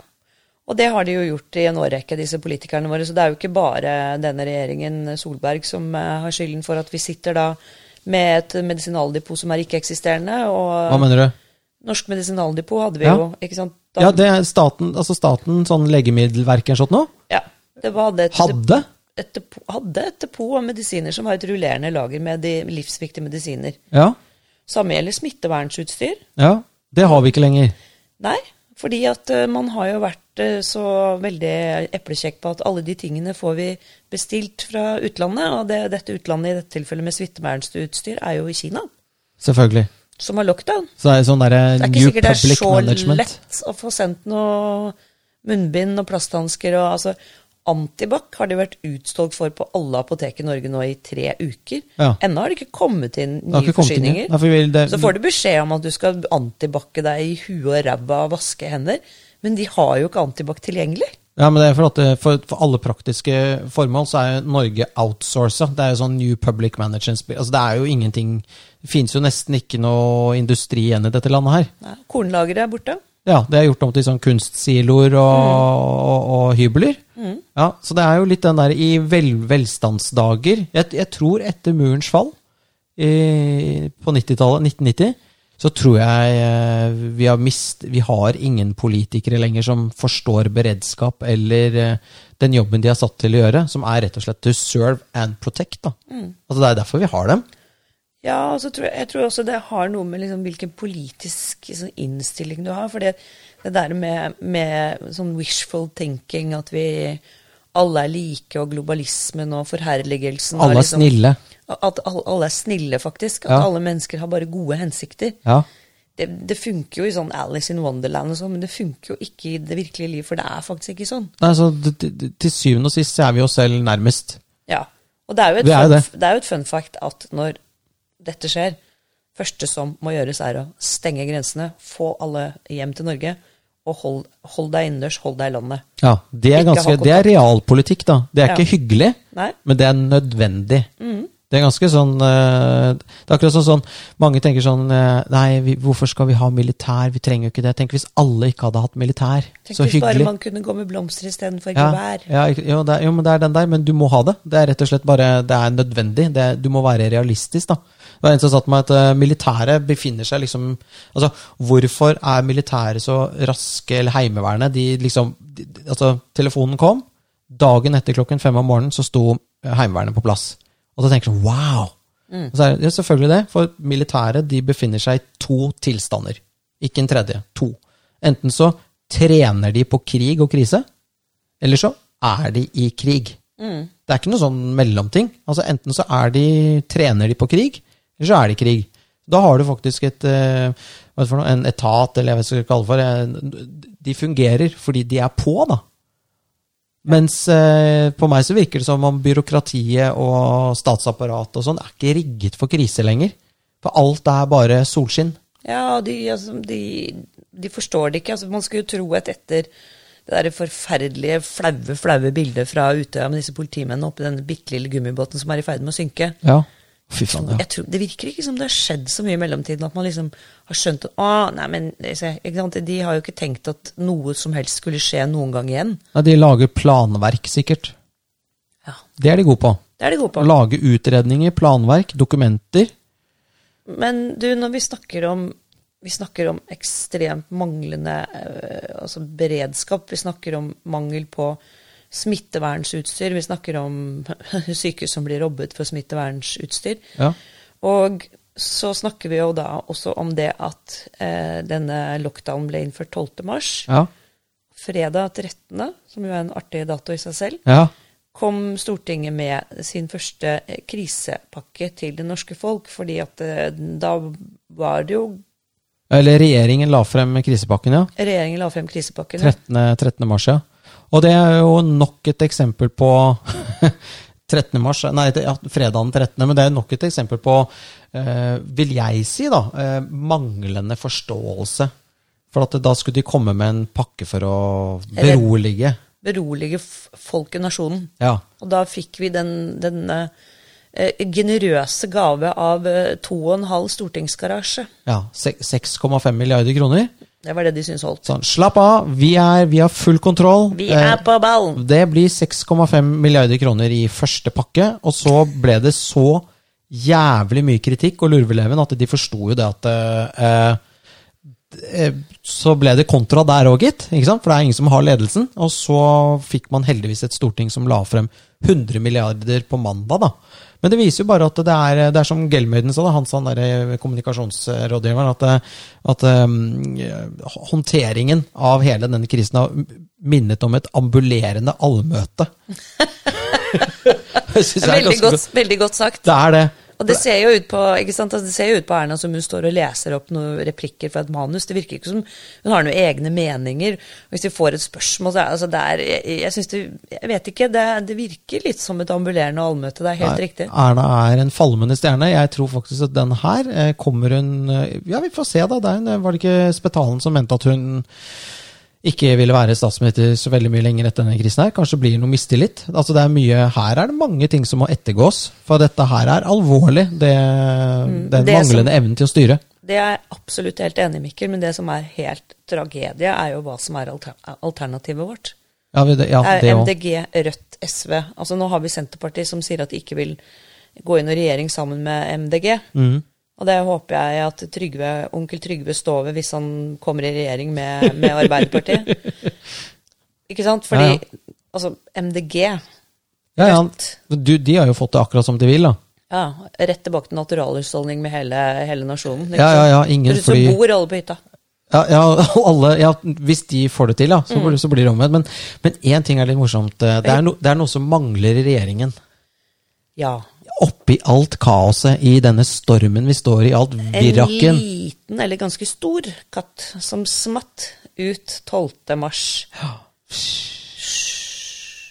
[SPEAKER 2] Og det har de jo gjort i en årrekke, disse politikerne våre. Så det er jo ikke bare denne regjeringen Solberg som eh, har skylden for at vi sitter da med et medisinaldepot som er ikke-eksisterende.
[SPEAKER 1] Hva
[SPEAKER 2] Og
[SPEAKER 1] mener du?
[SPEAKER 2] norsk medisinaldepot hadde vi
[SPEAKER 1] Ja.
[SPEAKER 2] jo, ikke sant? Da-
[SPEAKER 1] Ja, det er staten, altså staten sånn legemiddelverket eller sånt nå,
[SPEAKER 2] Ja. Det var, hadde, et,
[SPEAKER 1] hadde
[SPEAKER 2] Et depot, hadde et depot av medisiner som var et rullerende lager med de livsviktige medisiner.
[SPEAKER 1] Ja,
[SPEAKER 2] Samme gjelder smittevernutstyr.
[SPEAKER 1] ja. Det har vi ikke lenger.
[SPEAKER 2] Nei, fordi at eh, man har jo vært eh, så veldig eplekjekk på at alle de tingene får vi bestilt fra utlandet, og det, dette utlandet i dette tilfellet med smittevernutstyr er jo i Kina,
[SPEAKER 1] Selvfølgelig.
[SPEAKER 2] som har lockdown.
[SPEAKER 1] Så det er sånn derre
[SPEAKER 2] Det er ikke
[SPEAKER 1] New
[SPEAKER 2] sikkert det er
[SPEAKER 1] Public
[SPEAKER 2] så
[SPEAKER 1] Management.
[SPEAKER 2] lett å få sendt noe munnbind og plasthansker og altså Antibac har de vært utsolgt for på alle apotek i Norge nå i tre uker.
[SPEAKER 1] Ja.
[SPEAKER 2] Ennå har det ikke kommet inn
[SPEAKER 1] har
[SPEAKER 2] nye
[SPEAKER 1] ikke kommet inn igjen.
[SPEAKER 2] forsyninger.
[SPEAKER 1] Nei, for vi vil det-
[SPEAKER 2] Så får du beskjed om at du skal antibac-e deg i huet og ræva og vaske hender, men de har jo ikke antibac tilgjengelig.
[SPEAKER 1] Ja, men det er for, at, det- for, for alle praktiske formål så er jo Norge outsourca. Det er jo sånn New Public Management altså Det er jo ingenting Det finnes jo nesten ikke noe industri igjen i dette landet her.
[SPEAKER 2] Nei, Kornlageret er borte.
[SPEAKER 1] Ja, det er gjort om til sånn kunstsiloer og, og, og hybler. Ja, så det er jo litt den der i vel, velstandsdager jeg, jeg tror etter murens fall i, på 90-tallet, 1990, så tror jeg eh, vi har mist Vi har ingen politikere lenger som forstår beredskap eller eh, den jobben de er satt til å gjøre, som er rett og slett to serve and protect. Da. Altså, det er derfor vi har dem.
[SPEAKER 2] Ja, og så tror jeg, jeg tror også det har noe med liksom hvilken politisk sånn, innstilling du har. For det der med, med sånn wishful thinking, at vi alle er like, og globalismen og forherligelsen liksom
[SPEAKER 1] Alle er snille.
[SPEAKER 2] At alle, alle er snille, faktisk. At
[SPEAKER 1] Ja.
[SPEAKER 2] alle mennesker har bare gode hensikter.
[SPEAKER 1] Ja.
[SPEAKER 2] Det, det funker jo i sånn Alice in Wonderland og sånn, men det funker jo ikke i det virkelige liv, for det er faktisk ikke sånn.
[SPEAKER 1] Nei, så, d- d- d- til syvende og sist så er vi oss selv nærmest.
[SPEAKER 2] Ja. Og det er jo et,
[SPEAKER 1] Det er jo
[SPEAKER 2] fun,
[SPEAKER 1] det.
[SPEAKER 2] det. er jo et fun fact at når dette skjer, første som må gjøres, er å stenge grensene, få alle hjem til Norge og hold, hold deg innendørs, hold deg i landet.
[SPEAKER 1] Ja, det er,
[SPEAKER 2] Ikke ha
[SPEAKER 1] ganske, det
[SPEAKER 2] kontakt.
[SPEAKER 1] er realpolitikk, da. Det er
[SPEAKER 2] Ja.
[SPEAKER 1] ikke hyggelig,
[SPEAKER 2] Nei. Mm.
[SPEAKER 1] men det er nødvendig. Det er ganske sånn eh, Det er akkurat sånn, sånn Mange tenker sånn eh, Nei, vi, hvorfor skal vi ha militær? Vi trenger jo ikke det. Tenk hvis alle ikke hadde hatt militær.
[SPEAKER 2] Tenk
[SPEAKER 1] så
[SPEAKER 2] hvis bare
[SPEAKER 1] hyggelig.
[SPEAKER 2] man kunne gå med blomster istedenfor
[SPEAKER 1] Ja,
[SPEAKER 2] gevær.
[SPEAKER 1] ja, ikke- jo, det er, jo, men det er den der, men du må ha det. Det er rett og slett bare Det er nødvendig. Det, er- du må være realistisk, da. Det var en som sa til meg at eh, militæret befinner seg liksom Altså, hvorfor er militæret så raske, eller Heimevernet, de liksom de, de- Altså, telefonen kom, dagen etter klokken fem om morgenen så sto eh, Heimevernet på plass. Og så tenker du sånn wow! Og Så er det, ja, selvfølgelig det, for militæret de befinner seg i to tilstander. Ikke en tredje. To. Enten så trener de på krig og krise, eller så er de i krig. Det er ikke noe sånn mellomting. Altså Enten så er de, trener de på krig, eller så er de i krig. Da har du faktisk et, eh, hva er det for noe, en etat, eller jeg vet ikke hva jeg skal kalle det for. eh, De fungerer fordi de er på, da. Mens eh, på meg så virker det som om byråkratiet og statsapparatet og sånn er ikke rigget for krise lenger. For alt er bare solskinn.
[SPEAKER 2] Ja, og de, altså, de, de forstår det ikke. Altså, man skulle jo tro at etter det der forferdelige, flaue, flaue bildet fra Utøya med disse politimennene oppi denne bitte lille gummibåten som er i ferd med å synke
[SPEAKER 1] Ja. Fy faen, ja.
[SPEAKER 2] jeg tror, Det virker ikke som det har skjedd så mye i mellomtiden at man liksom har skjønt at å, nei, men, se, ikke sant? De har jo ikke tenkt at noe som helst skulle skje noen gang igjen.
[SPEAKER 1] Nei, de lager planverk, sikkert.
[SPEAKER 2] Ja,
[SPEAKER 1] Det er de gode på.
[SPEAKER 2] Det er de gode på.
[SPEAKER 1] Å Lage utredninger, planverk, dokumenter.
[SPEAKER 2] Men du, når vi snakker om vi snakker om ekstremt manglende eh, altså beredskap. Vi snakker om mangel på smittevernsutstyr. Vi snakker om (laughs) sykehus som blir robbet for smittevernsutstyr.
[SPEAKER 1] Ja.
[SPEAKER 2] Og så snakker vi jo da også om det at eh, denne lockdownen ble innført 12. mars.
[SPEAKER 1] Ja.
[SPEAKER 2] Fredag 13., som jo er en artig dato i seg selv,
[SPEAKER 1] ja.
[SPEAKER 2] kom Stortinget med sin første eh, krisepakke til det norske folk, fordi at eh, da var det jo
[SPEAKER 1] Eller regjeringen la frem krisepakken, ja.
[SPEAKER 2] Regjeringen la frem krisepakken.
[SPEAKER 1] 13. 13. mars, ja. Og det er jo nok et eksempel på (laughs) 13. mars, nei, det- ja, fredagen 13., men det er nok et eksempel på, eh, vil jeg si, da, eh, manglende forståelse. For at da skulle de komme med en pakke for å berolige.
[SPEAKER 2] Berolige f- folk i nasjonen.
[SPEAKER 1] Ja.
[SPEAKER 2] Og da fikk vi den, den eh, eh, generøse gave av eh, to og en halv stortingsgarasje.
[SPEAKER 1] ja. se- 6,5 milliarder kroner.
[SPEAKER 2] Det var det de syntes holdt.
[SPEAKER 1] Sånn, slapp av, vi, er, vi har full kontroll.
[SPEAKER 2] Vi
[SPEAKER 1] Eh,
[SPEAKER 2] er på ballen!
[SPEAKER 1] Det blir 6,5 milliarder kroner i første pakke, og så ble det så jævlig mye kritikk og lurveleven at de forsto jo det at eh, eh, Så ble det kontra der òg, gitt. ikke sant? For det er ingen som har ledelsen. Og så fikk man heldigvis et storting som la frem 100 milliarder på mandag, da. Men det viser jo bare at det er, det er som Gelmøyden sa, da, han sa, han der eh, kommunikasjonsrådgiveren, at, eh, at eh, håndteringen av hele denne krisen har minnet om et ambulerende
[SPEAKER 2] (laughs)
[SPEAKER 1] allmøte. Jeg synes det er
[SPEAKER 2] Veldig
[SPEAKER 1] ganske
[SPEAKER 2] godt, veldig godt sagt.
[SPEAKER 1] Det er det.
[SPEAKER 2] Og det ser jo ut på, ikke sant? Altså, det ser jo ut på Erna som hun står og leser opp noen replikker fra et manus. Det virker ikke som hun har noen egne meninger. Og hvis de får et spørsmål, så er altså, det er, jeg, jeg synes det, jeg vet ikke, det, det virker litt som et ambulerende allmøte. Det er helt riktig.
[SPEAKER 1] Erna er en falmende stjerne. Jeg tror faktisk at den her eh, kommer hun eh, Ja, vi får se, da. Det er en, eh, var det ikke Spetalen som mente at hun ikke ville være statsminister så veldig mye lenger etter denne krisen her. Kanskje blir det noe mistillit. Altså det er mye, Her er det mange ting som må ettergås. For dette her er alvorlig. Det, den
[SPEAKER 2] Mm, det som-
[SPEAKER 1] manglende evnen til å styre.
[SPEAKER 2] Det er jeg absolutt helt enig i, Mikkel, men det som er helt tragedie, er jo hva som er alter, alternativet vårt.
[SPEAKER 1] Ja, vi- det- ja,
[SPEAKER 2] er
[SPEAKER 1] det òg.
[SPEAKER 2] MDG, Rødt, SV. Altså Nå har vi Senterpartiet som sier at de ikke vil gå inn i regjering sammen med MDG.
[SPEAKER 1] Mm.
[SPEAKER 2] Og det håper jeg at Trygve, onkel Trygve står ved hvis han kommer i regjering med, med Arbeiderpartiet.
[SPEAKER 1] (laughs)
[SPEAKER 2] ikke sant? Fordi
[SPEAKER 1] Ja,
[SPEAKER 2] altså MDG
[SPEAKER 1] Ja, ja.
[SPEAKER 2] Rødt.
[SPEAKER 1] Du, de har jo fått det akkurat som de vil, da.
[SPEAKER 2] ja, Rett tilbake til naturalhusholdning med hele, hele nasjonen. ikke sånn-
[SPEAKER 1] Ja, ja,
[SPEAKER 2] sant?
[SPEAKER 1] ja, ingen
[SPEAKER 2] Plutselig
[SPEAKER 1] fly.
[SPEAKER 2] bor alle på hytta.
[SPEAKER 1] Ja, ja, (laughs) og alle, ja, hvis de får det til, ja, så, blir- så blir det omvendt. Men- Men én ting er litt morsomt. eh, Det er, no, det er noe som mangler i regjeringen.
[SPEAKER 2] Ja.
[SPEAKER 1] Oppi alt kaoset, i denne stormen vi står i, alt
[SPEAKER 2] En
[SPEAKER 1] virraken
[SPEAKER 2] liten, eller ganske stor, katt som smatt ut 12. mars.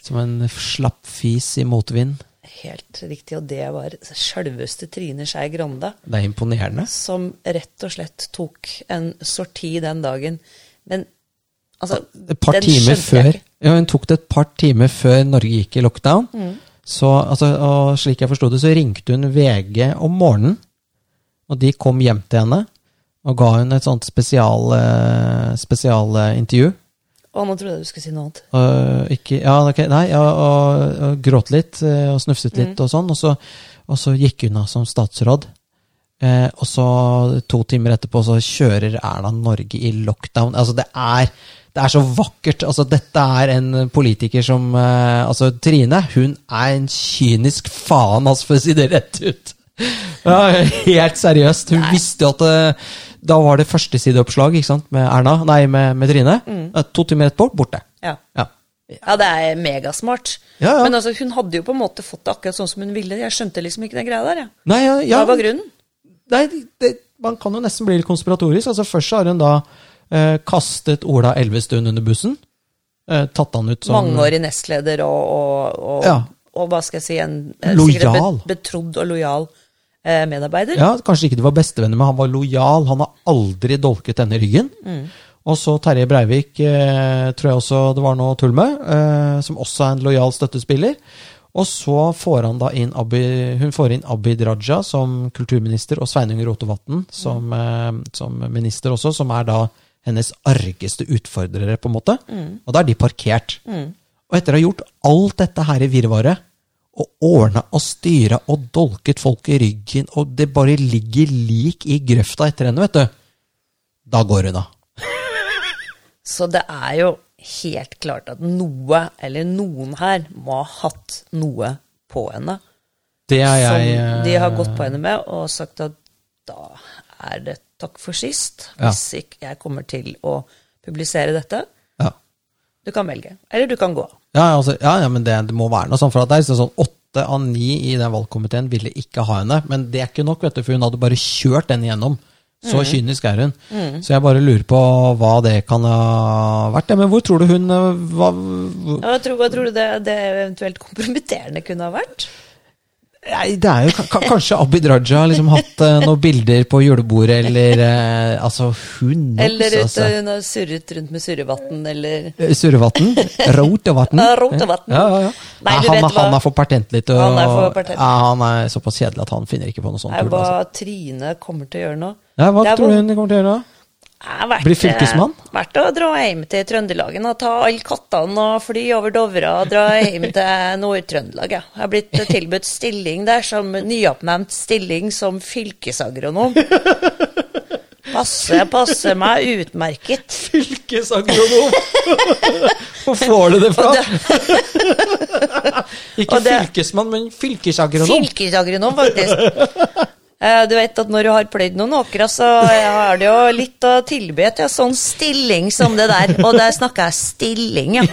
[SPEAKER 1] Som en slapp fis i motvind.
[SPEAKER 2] Helt riktig, og det var sjølveste Trine Skei Grande,
[SPEAKER 1] Det er imponerende.
[SPEAKER 2] som rett og slett tok en sorti den dagen. Men Altså,
[SPEAKER 1] Et par
[SPEAKER 2] den
[SPEAKER 1] timer
[SPEAKER 2] skjønte jeg
[SPEAKER 1] før
[SPEAKER 2] ikke.
[SPEAKER 1] ja, Hun tok det et par timer før Norge gikk i lockdown.
[SPEAKER 2] Mm.
[SPEAKER 1] Så, altså, og slik jeg forsto det, så ringte hun VG om morgenen, og de kom hjem til henne. Og ga hun et sånt spesialintervju. Spesial eh, intervju.
[SPEAKER 2] Å, nå trodde jeg du skulle si noe annet.
[SPEAKER 1] Og ikke, ja, ok, nei, ja, og, og gråt litt eh, og snufset litt og sånn. Og så, og så gikk hun av som statsråd. Eh, og så to timer etterpå så kjører Erna Norge i lockdown. Altså det er, det er så vakkert. Altså dette er en politiker som eh, Altså Trine, hun er en kynisk faen, altså for å si det rett ut. Ja, helt seriøst. Hun visste jo at eh, Da var det førstesideoppslag ikke sant, med Erna, nei, med, med Trine. Eh, To timer etterpå, borte.
[SPEAKER 2] Ja.
[SPEAKER 1] Ja.
[SPEAKER 2] Ja, det er megasmart.
[SPEAKER 1] Ja, ja.
[SPEAKER 2] Men altså, hun hadde jo på en måte fått det akkurat sånn som hun ville. Jeg skjønte liksom ikke den greia der, jeg.
[SPEAKER 1] Nei, ja, ja,
[SPEAKER 2] Hva var grunnen?
[SPEAKER 1] nei det, man kan jo nesten bli litt konspiratorisk. Altså, først så har hun da eh, kastet Ola Elvestuen under bussen. Eh, tatt han ut som
[SPEAKER 2] Mangeårig nestleder og, og, og,
[SPEAKER 1] Ja.
[SPEAKER 2] og hva skal jeg si, en eh,
[SPEAKER 1] Lojal.
[SPEAKER 2] sikkert bet- betrodd og lojal eh, medarbeider.
[SPEAKER 1] Ja, Kanskje ikke de var bestevenner, men han var lojal. Han har aldri dolket henne i ryggen. Og så Terje Breivik, eh, tror jeg også det var noe tull med, eh, som også er en lojal støttespiller. Og så får han da inn Abi, hun får inn Abid Raja som kulturminister, og Sveinung Rotevatn som, eh, som minister også, som er da hennes argeste utfordrere, på en måte. Og da er de parkert. Og etter å ha gjort alt dette her i virvaret, og ordna og styra og dolket folk i ryggen, og det bare ligger lik i grøfta etter henne, vet du. Da går hun av.
[SPEAKER 2] Så det er jo helt klart at noe, eller noen her, må ha hatt noe på henne.
[SPEAKER 1] Det er jeg eh,
[SPEAKER 2] som de har gått på henne med og sagt at da er det takk for sist.
[SPEAKER 1] Ja.
[SPEAKER 2] Hvis ikke jeg kommer til å publisere dette.
[SPEAKER 1] ja.
[SPEAKER 2] Du kan velge. Eller du kan gå.
[SPEAKER 1] Ja, altså, ja, ja, men det, det må være noe sånn. For at det er sånn- sånn åtte av ni i den valgkomiteen ville ikke ha henne. Men det er ikke nok, vet du, for hun hadde bare kjørt den igjennom. Så kynisk er hun. Så jeg bare lurer på hva det kan ha vært. Ja, men hvor tror du hun eh, hva,
[SPEAKER 2] Ja, Hva tror, hva tror du det, det eventuelt kompromitterende kunne ha vært?
[SPEAKER 1] Nei, det er jo ka- ka- kanskje Abid Raja har liksom hatt eh, noen bilder på julebordet, eller eh, Altså, hun knows,
[SPEAKER 2] Eller ut, eh,
[SPEAKER 1] altså.
[SPEAKER 2] hun har surret rundt med surrevann, eller
[SPEAKER 1] Eh, Surrevatn?
[SPEAKER 2] (laughs)
[SPEAKER 1] Rotevatn?
[SPEAKER 2] Ja, Rotevatn.
[SPEAKER 1] Ja, ja, ja.
[SPEAKER 2] Nei,
[SPEAKER 1] Nei,
[SPEAKER 2] du
[SPEAKER 1] han,
[SPEAKER 2] vet
[SPEAKER 1] er-
[SPEAKER 2] hva-
[SPEAKER 1] han er for pertentlig til å
[SPEAKER 2] Han er for pertentlig.
[SPEAKER 1] ja, Han er såpass kjedelig at han finner ikke på noe sånt
[SPEAKER 2] Nei,
[SPEAKER 1] tull.
[SPEAKER 2] hva
[SPEAKER 1] Altså.
[SPEAKER 2] Trine kommer til å gjøre nå.
[SPEAKER 1] Ja, hva
[SPEAKER 2] Det er
[SPEAKER 1] tror du
[SPEAKER 2] hvor-
[SPEAKER 1] hun kommer til å gjøre da?
[SPEAKER 2] er verdt,
[SPEAKER 1] Bli fylkesmann?
[SPEAKER 2] eh, Verdt å dra hjem til Trøndelagen og ta alle kattene og fly over Dovre og dra hjem til (laughs) Nord-Trøndelag. ja. Jeg har blitt eh, tilbudt stilling der, som nyoppnevnt stilling som fylkesagronom. Passer, passer meg utmerket.
[SPEAKER 1] Fylkesagronom! (laughs) Hvor får du det fra? (laughs) ikke
[SPEAKER 2] Og det-
[SPEAKER 1] fylkesmann, men fylkesagronom.
[SPEAKER 2] Fylkesagronom, faktisk. Eh, Du vet at når du har pløyd noen åkre, så har du jo litt å tilby til en sånn stilling som det der. Og der snakker jeg stilling, ja.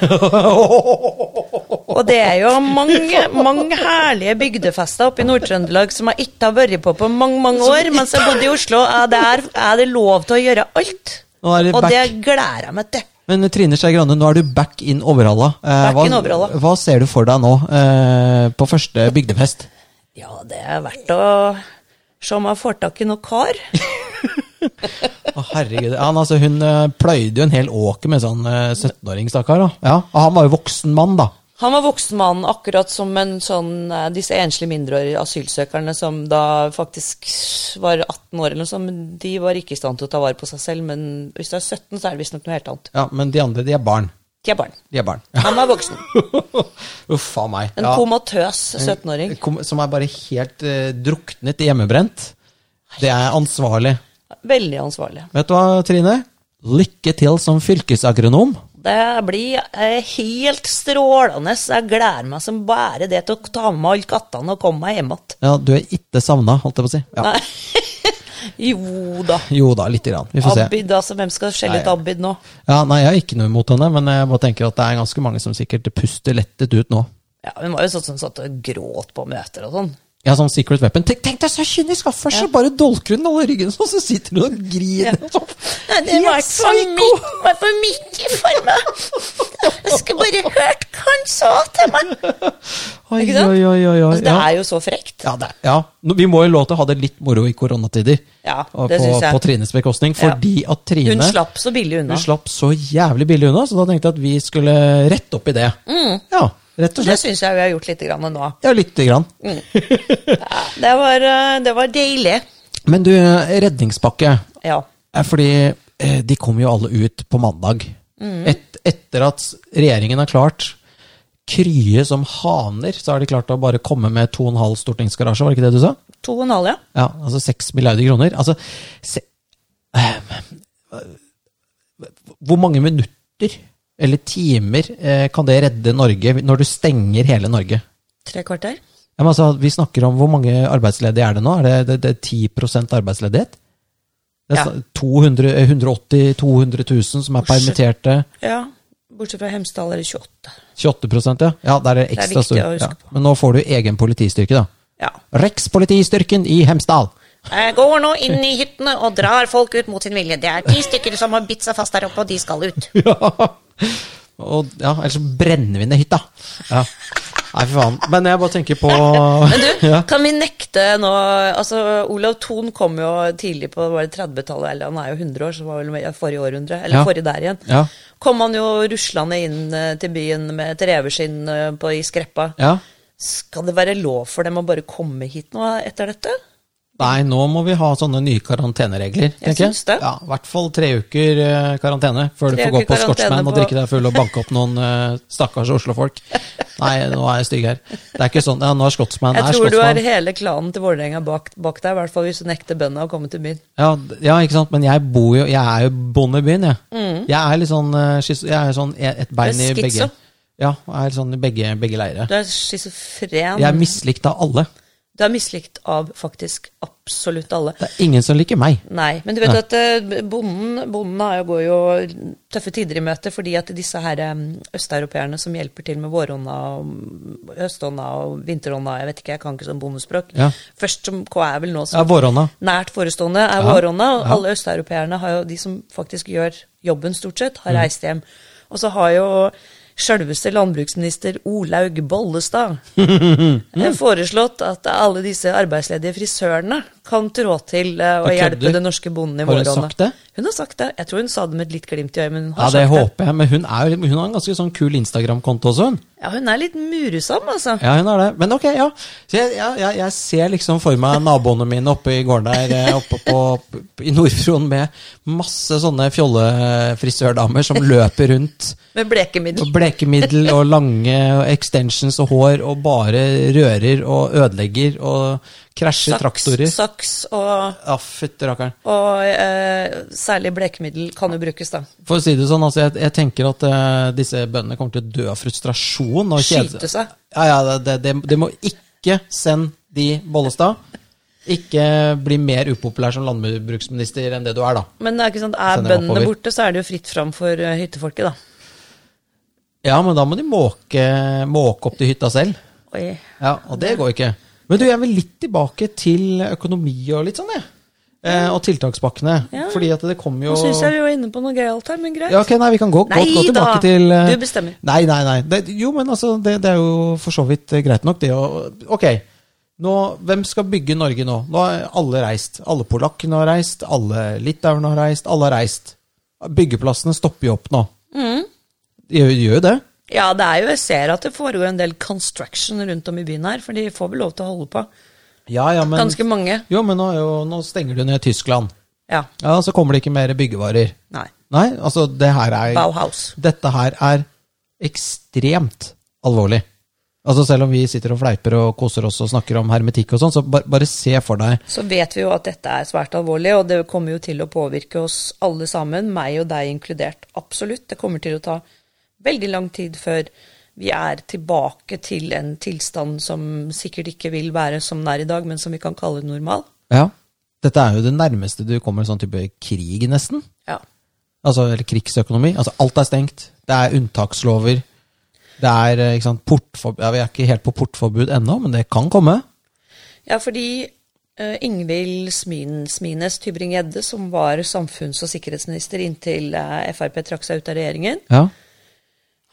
[SPEAKER 2] Og det er jo mange, mange herlige bygdefester oppe i Nord-Trøndelag som jeg ikke har vært på på mange, mange år. Mens jeg bodde i Oslo, er det, er, er det lov til å gjøre alt.
[SPEAKER 1] (laughs) Nå er det
[SPEAKER 2] Og
[SPEAKER 1] back.
[SPEAKER 2] det gleder jeg meg til.
[SPEAKER 1] Men eh, Trine Skei Grande, nå er du back in overhalla. Eh,
[SPEAKER 2] Back
[SPEAKER 1] hva,
[SPEAKER 2] in overhalla.
[SPEAKER 1] hva ser du for deg nå, eh, på første bygdefest?
[SPEAKER 2] Ja, det er verdt å se om jeg får tak i noen kar.
[SPEAKER 1] (laughs) Å, herregud. Han, altså, hun eh, pløyde jo en hel åker med sånn eh, 17-åring, stakkar. da. Ja, og han var jo voksen mann, da.
[SPEAKER 2] Han var voksen mann, akkurat som en sånn, eh, disse enslige mindreårige asylsøkerne som da faktisk var 18 år eller noe sånt, men de var ikke i stand til å ta vare på seg selv. Men hvis du er 17, så er det visstnok noe helt annet.
[SPEAKER 1] Ja, Men de andre, de er barn.
[SPEAKER 2] De er barn.
[SPEAKER 1] De er barn.
[SPEAKER 2] Han var voksen.
[SPEAKER 1] (laughs) Uff a meg.
[SPEAKER 2] En
[SPEAKER 1] Ja.
[SPEAKER 2] komatøs 17-åring.
[SPEAKER 1] Kom- Som er bare helt eh, druknet i hjemmebrent. Det er ansvarlig.
[SPEAKER 2] Veldig ansvarlig.
[SPEAKER 1] Vet du hva, Trine? Lykke til som fylkesagronom.
[SPEAKER 2] Det blir eh, helt strålende. så Jeg gleder meg som bare det til å ta med meg alle kattene og komme meg hjem igjen.
[SPEAKER 1] Ja, du er ikke savna, holdt jeg på å si. Ja.
[SPEAKER 2] (laughs) Jo da.
[SPEAKER 1] Jo da, lite grann. Vi får se.
[SPEAKER 2] Abid, altså. Hvem skal skjelle ut
[SPEAKER 1] Nei.
[SPEAKER 2] Abid nå?
[SPEAKER 1] Ja, nei, jeg har ikke noe imot henne, men jeg bare tenker at det er ganske mange som sikkert puster lettet ut nå.
[SPEAKER 2] Ja, Hun var jo sånn som satt og gråt på møter og sånn.
[SPEAKER 1] Ja, sånn secret weapon. Tenk, tenk deg så kynisk oppførsel! Bare dolker hun alle ryggene, sånn, så sitter hun og (laughs) griner. og sånn.
[SPEAKER 2] Nei, det
[SPEAKER 1] Helt
[SPEAKER 2] var for
[SPEAKER 1] psyko!
[SPEAKER 2] mye, var for mye for meg. Jeg skulle bare hørt hva han sa til meg.
[SPEAKER 1] Oi,
[SPEAKER 2] Ikke sant?
[SPEAKER 1] oi, oi, oi, oi.
[SPEAKER 2] Altså, det
[SPEAKER 1] Ja.
[SPEAKER 2] er jo så frekt.
[SPEAKER 1] Ja, det, ja. Nå, vi må jo lov til å ha det litt moro i koronatider.
[SPEAKER 2] Ja,
[SPEAKER 1] Og
[SPEAKER 2] det
[SPEAKER 1] på,
[SPEAKER 2] synes jeg.
[SPEAKER 1] På Trines bekostning,
[SPEAKER 2] Ja.
[SPEAKER 1] fordi at Trine
[SPEAKER 2] Hun slapp så billig
[SPEAKER 1] hun
[SPEAKER 2] unna.
[SPEAKER 1] slapp så jævlig billig unna, så da tenkte jeg at vi skulle rette opp i det.
[SPEAKER 2] Mm.
[SPEAKER 1] Ja, rett og
[SPEAKER 2] Det
[SPEAKER 1] slett.
[SPEAKER 2] syns jeg vi har gjort litt grann nå.
[SPEAKER 1] Ja, lite grann.
[SPEAKER 2] Ja, Det var, eh, det var deilig.
[SPEAKER 1] Men du, redningspakke.
[SPEAKER 2] Ja.
[SPEAKER 1] er Fordi eh, de kommer jo alle ut på mandag. Et, etter at regjeringen har klart krye som haner, så har de klart å bare komme med 2,5 stortingsgarasje, var det ikke det du sa?
[SPEAKER 2] To og en halv, ja.
[SPEAKER 1] Ja, altså 6 milliarder kroner. Altså se, eh, Hvor mange minutter eller timer eh, kan det redde Norge når du stenger hele Norge?
[SPEAKER 2] Tre kvarter.
[SPEAKER 1] Ja, men altså, vi snakker om hvor mange arbeidsledige er det nå? Er det, det, det er 10 arbeidsledighet? Det er
[SPEAKER 2] Ja.
[SPEAKER 1] sna- 200, eh, 180 200 000 som er permitterte.
[SPEAKER 2] Ja. Bortsett fra Hemsedal er det 28.
[SPEAKER 1] 28 ja. ja. Der er det
[SPEAKER 2] er
[SPEAKER 1] ekstra
[SPEAKER 2] viktig å
[SPEAKER 1] stor.
[SPEAKER 2] huske
[SPEAKER 1] Ja. Men nå får du egen politistyrke, da.
[SPEAKER 2] Ja.
[SPEAKER 1] Rikspolitistyrken i Hemsedal!
[SPEAKER 2] Jeg går nå inn i hyttene og drar folk ut mot sin vilje. Det er ti stykker som har bitt seg fast der oppe, og de skal ut.
[SPEAKER 1] Ja. Og, ja, ellers så brenner vi ned hytta. Ja. Nei, fy faen. Men jeg bare tenker på
[SPEAKER 2] (laughs) Men du,
[SPEAKER 1] ja.
[SPEAKER 2] kan vi nekte nå Altså, Olav Thon kom jo tidlig på var det 30-tallet, eller han er jo 100 år, så var vel med- forrige århundre, eller
[SPEAKER 1] Ja.
[SPEAKER 2] forrige der igjen.
[SPEAKER 1] Ja.
[SPEAKER 2] Kom han jo ruslende inn eh, til byen med et reveskinn eh, på- i skreppa.
[SPEAKER 1] ja.
[SPEAKER 2] Skal det være lov for dem å bare komme hit nå etter dette?
[SPEAKER 1] Nei, nå må vi ha sånne nye karanteneregler. tenker
[SPEAKER 2] syns det.
[SPEAKER 1] Ja, I hvert fall tre uker eh, karantene før du
[SPEAKER 2] Tre
[SPEAKER 1] får gå
[SPEAKER 2] uker
[SPEAKER 1] på
[SPEAKER 2] karantene
[SPEAKER 1] Scotsman og
[SPEAKER 2] på-
[SPEAKER 1] drikke deg full og banke opp noen eh, stakkars Oslo-folk. Nei, nå er jeg stygg her. Det er ikke sånn. Ja, nå er Scotsman
[SPEAKER 2] Jeg
[SPEAKER 1] er
[SPEAKER 2] tror du har
[SPEAKER 1] Scotsman.
[SPEAKER 2] hele klanen til Vålerenga bak, bak deg, i hvert fall hvis du nekter bøndene å komme til byen.
[SPEAKER 1] Ja, d- ja, ikke sant. Men jeg bor jo Jeg er jo bonde i byen, jeg. Jeg er litt sånn, eh, skis- jeg er sånn et et bein i
[SPEAKER 2] Mm. Det er
[SPEAKER 1] begge
[SPEAKER 2] schizo.
[SPEAKER 1] Ja, jeg er sånn i begge, begge leire.
[SPEAKER 2] Du er schizofren.
[SPEAKER 1] Jeg er mislikt av alle.
[SPEAKER 2] Du er mislikt av faktisk absolutt alle.
[SPEAKER 1] Det er ingen som liker meg.
[SPEAKER 2] Nei, men du vet
[SPEAKER 1] Nei.
[SPEAKER 2] at eh, bonden, bonden er jo, går jo tøffe tider i møte fordi at disse her em, østeuropeerne som hjelper til med våronna, og høstonna og vinteronna, jeg vet ikke, jeg kan ikke sånn bondespråk.
[SPEAKER 1] Ja.
[SPEAKER 2] Først som hva er vel nå
[SPEAKER 1] Ja,
[SPEAKER 2] som
[SPEAKER 1] Våronna.
[SPEAKER 2] nært forestående er
[SPEAKER 1] Ja,
[SPEAKER 2] våronna, og
[SPEAKER 1] ja.
[SPEAKER 2] alle østeuropeerne har jo, de som faktisk gjør jobben stort sett,
[SPEAKER 1] Mm.
[SPEAKER 2] har reist hjem. Og så har jo selveste landbruksminister Olaug
[SPEAKER 1] (laughs)
[SPEAKER 2] Bollestad eh, foreslått at alle disse arbeidsledige frisørene kan trå til eh, å
[SPEAKER 1] Du kødder.
[SPEAKER 2] hjelpe den norske bonden i
[SPEAKER 1] Har hun
[SPEAKER 2] våronna.
[SPEAKER 1] sagt det?
[SPEAKER 2] Hun har sagt det. Jeg tror hun sa det med et litt glimt i øyet, men hun
[SPEAKER 1] Ja,
[SPEAKER 2] har
[SPEAKER 1] det
[SPEAKER 2] sagt det.
[SPEAKER 1] håper jeg. Men hun, er, jo- hun har en ganske sånn kul Instagram-konto også, hun.
[SPEAKER 2] Ja, hun er litt murusom, altså.
[SPEAKER 1] Ja, hun har det. Men ok, ja. Så jeg, ja, jeg, jeg ser liksom for meg naboene mine oppe i gården der eh, oppe på, i Nordfron med masse sånne fjollefrisørdamer som løper rundt
[SPEAKER 2] Med blekemiddel.
[SPEAKER 1] og blekemiddel og lange og extensions og hår og bare rører og ødelegger og krasjer
[SPEAKER 2] Saks,
[SPEAKER 1] traktorer.
[SPEAKER 2] saks og,
[SPEAKER 1] Ja, fytti rakkeren.
[SPEAKER 2] og eh, særlig blekemiddel kan jo brukes, da.
[SPEAKER 1] For å si det sånn, altså, jeg, jeg tenker at eh, disse bøndene kommer til å dø av frustrasjon. Og kjede
[SPEAKER 2] Skyte seg.
[SPEAKER 1] Ja, ja, det, det, det, det må ikke sende de Bollestad. Ikke bli mer upopulær som landbruksminister enn det du er, da.
[SPEAKER 2] Men det er ikke sant, er
[SPEAKER 1] Sender dem
[SPEAKER 2] bøndene
[SPEAKER 1] oppover.
[SPEAKER 2] borte, så er det jo fritt fram for eh, hyttefolket, da.
[SPEAKER 1] Ja, men da må de måke, måke opp til hytta selv.
[SPEAKER 2] Oi.
[SPEAKER 1] Ja, Og det går ikke. Men du, jeg vil litt tilbake til økonomi og litt sånn, jeg. Eh, og tiltakspakkene.
[SPEAKER 2] Ja.
[SPEAKER 1] Fordi at det kommer jo
[SPEAKER 2] Nå syns jeg vi var inne på noe gøyalt her, men greit.
[SPEAKER 1] Ja, ok, nei, vi kan gå,
[SPEAKER 2] Nei
[SPEAKER 1] godt gå tilbake
[SPEAKER 2] da,
[SPEAKER 1] til eh,
[SPEAKER 2] du bestemmer.
[SPEAKER 1] Nei, nei, nei. Det, jo, men altså, det, det er jo for så vidt eh, greit nok, det å Ok. Nå, hvem skal bygge Norge nå? Nå har alle reist. Alle polakkene har reist, alle litauerne har reist, alle har reist. Byggeplassene stopper jo opp nå. De gjør de gjør jo det.
[SPEAKER 2] Ja, det er jo, jeg ser at det foregår en del construction rundt om i byen her, for de får vel lov til å holde på.
[SPEAKER 1] Ja, ja, men
[SPEAKER 2] Ganske mange.
[SPEAKER 1] Jo, men nå, er jo, nå stenger du ned Tyskland.
[SPEAKER 2] Ja.
[SPEAKER 1] Ja, Så kommer det ikke mer byggevarer.
[SPEAKER 2] Nei.
[SPEAKER 1] Nei, altså, det her er
[SPEAKER 2] Bauhaus.
[SPEAKER 1] dette her er ekstremt alvorlig. Altså Selv om vi sitter og fleiper og koser oss og snakker om hermetikk og sånn, så bare, bare se for deg
[SPEAKER 2] Så vet vi jo at dette er svært alvorlig, og det kommer jo til å påvirke oss alle sammen, meg og deg inkludert. Absolutt. Det kommer til å ta veldig lang tid før vi er tilbake til en tilstand som sikkert ikke vil være som den er i dag, men som vi kan kalle normal.
[SPEAKER 1] Ja, dette er jo det nærmeste du kommer sånn type krig, nesten.
[SPEAKER 2] Ja.
[SPEAKER 1] Altså, Eller krigsøkonomi. Altså Alt er stengt. Det er unntakslover. Det er eh, ikke sant, portforbud ja, Vi er ikke helt på portforbud ennå, men det kan komme.
[SPEAKER 2] Ja, fordi eh, Ingvild Smin, Smines Tybring-Gjedde, som var samfunns- og sikkerhetsminister inntil eh, Frp trakk seg ut av regjeringen,
[SPEAKER 1] Ja.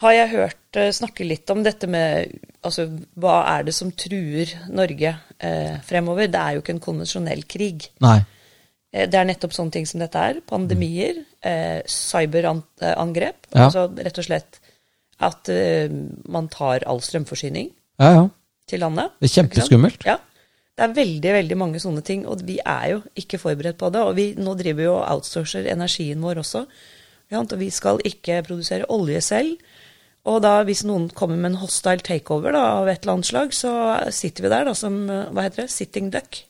[SPEAKER 2] har jeg hørt eh, snakke litt om dette med altså, hva er det som truer Norge eh, fremover? Det er jo ikke en konvensjonell krig.
[SPEAKER 1] Nei.
[SPEAKER 2] Eh, Det er nettopp sånne ting som dette er. Pandemier, eh, cyberangrep.
[SPEAKER 1] Ja.
[SPEAKER 2] Altså rett og slett at eh, man tar all strømforsyning
[SPEAKER 1] Ja, ja.
[SPEAKER 2] til landet.
[SPEAKER 1] Det er kjempeskummelt.
[SPEAKER 2] Ikke sant? Ja. Det er veldig veldig mange sånne ting, og vi er jo ikke forberedt på det. Og vi nå driver jo og outsourcer energien vår også. ikke sant? Og vi skal ikke produsere olje selv. Og da hvis noen kommer med en hostile takeover da, av et eller annet slag, så sitter vi der da som eh, hva heter det, sitting duck.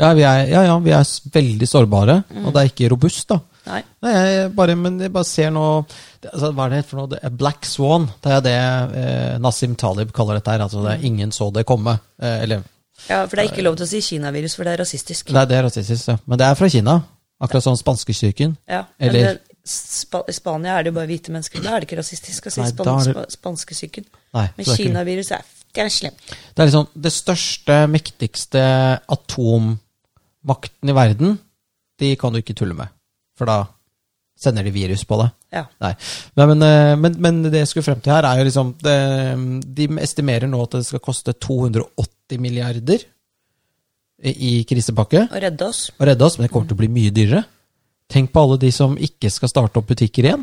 [SPEAKER 1] Ja, vi er, ja, ja, vi er s- veldig sårbare, og det er ikke robust, da.
[SPEAKER 2] Nei.
[SPEAKER 1] Nei, jeg bare, men jeg bare ser nå det- altså, Hva er det het for noe? Det er Black Swan. Det er det eh, Nassim Talib kaller dette her. Altså, det
[SPEAKER 2] Mm.
[SPEAKER 1] er ingen så det komme. Eh, eller
[SPEAKER 2] Ja, For det er ikke lov til å si kinavirus, for det er rasistisk.
[SPEAKER 1] Nei, det er rasistisk, ja. Men det er fra Kina. Akkurat som spanskesyken.
[SPEAKER 2] Ja, men
[SPEAKER 1] Eller
[SPEAKER 2] det, Spa I Spania er det jo bare hvite mennesker. Da er det ikke rasistisk å si
[SPEAKER 1] Nei,
[SPEAKER 2] span
[SPEAKER 1] da er det-
[SPEAKER 2] spa spanskesyken.
[SPEAKER 1] Nei,
[SPEAKER 2] Men
[SPEAKER 1] så det er ikke-
[SPEAKER 2] kinavirus er, det er slemt.
[SPEAKER 1] Det er liksom det største, mektigste atommakten i verden. De kan du ikke tulle med, for da sender de virus på deg.
[SPEAKER 2] Ja.
[SPEAKER 1] Nei. Nei, men, eh, men, men det jeg skulle frem til her, er jo liksom det, De estimerer nå at det skal koste 280 milliarder i i krisepakke
[SPEAKER 2] Å redde oss.
[SPEAKER 1] å redde oss, men det kommer til å bli mye dyrere. Tenk på alle de som ikke skal starte opp butikker igjen.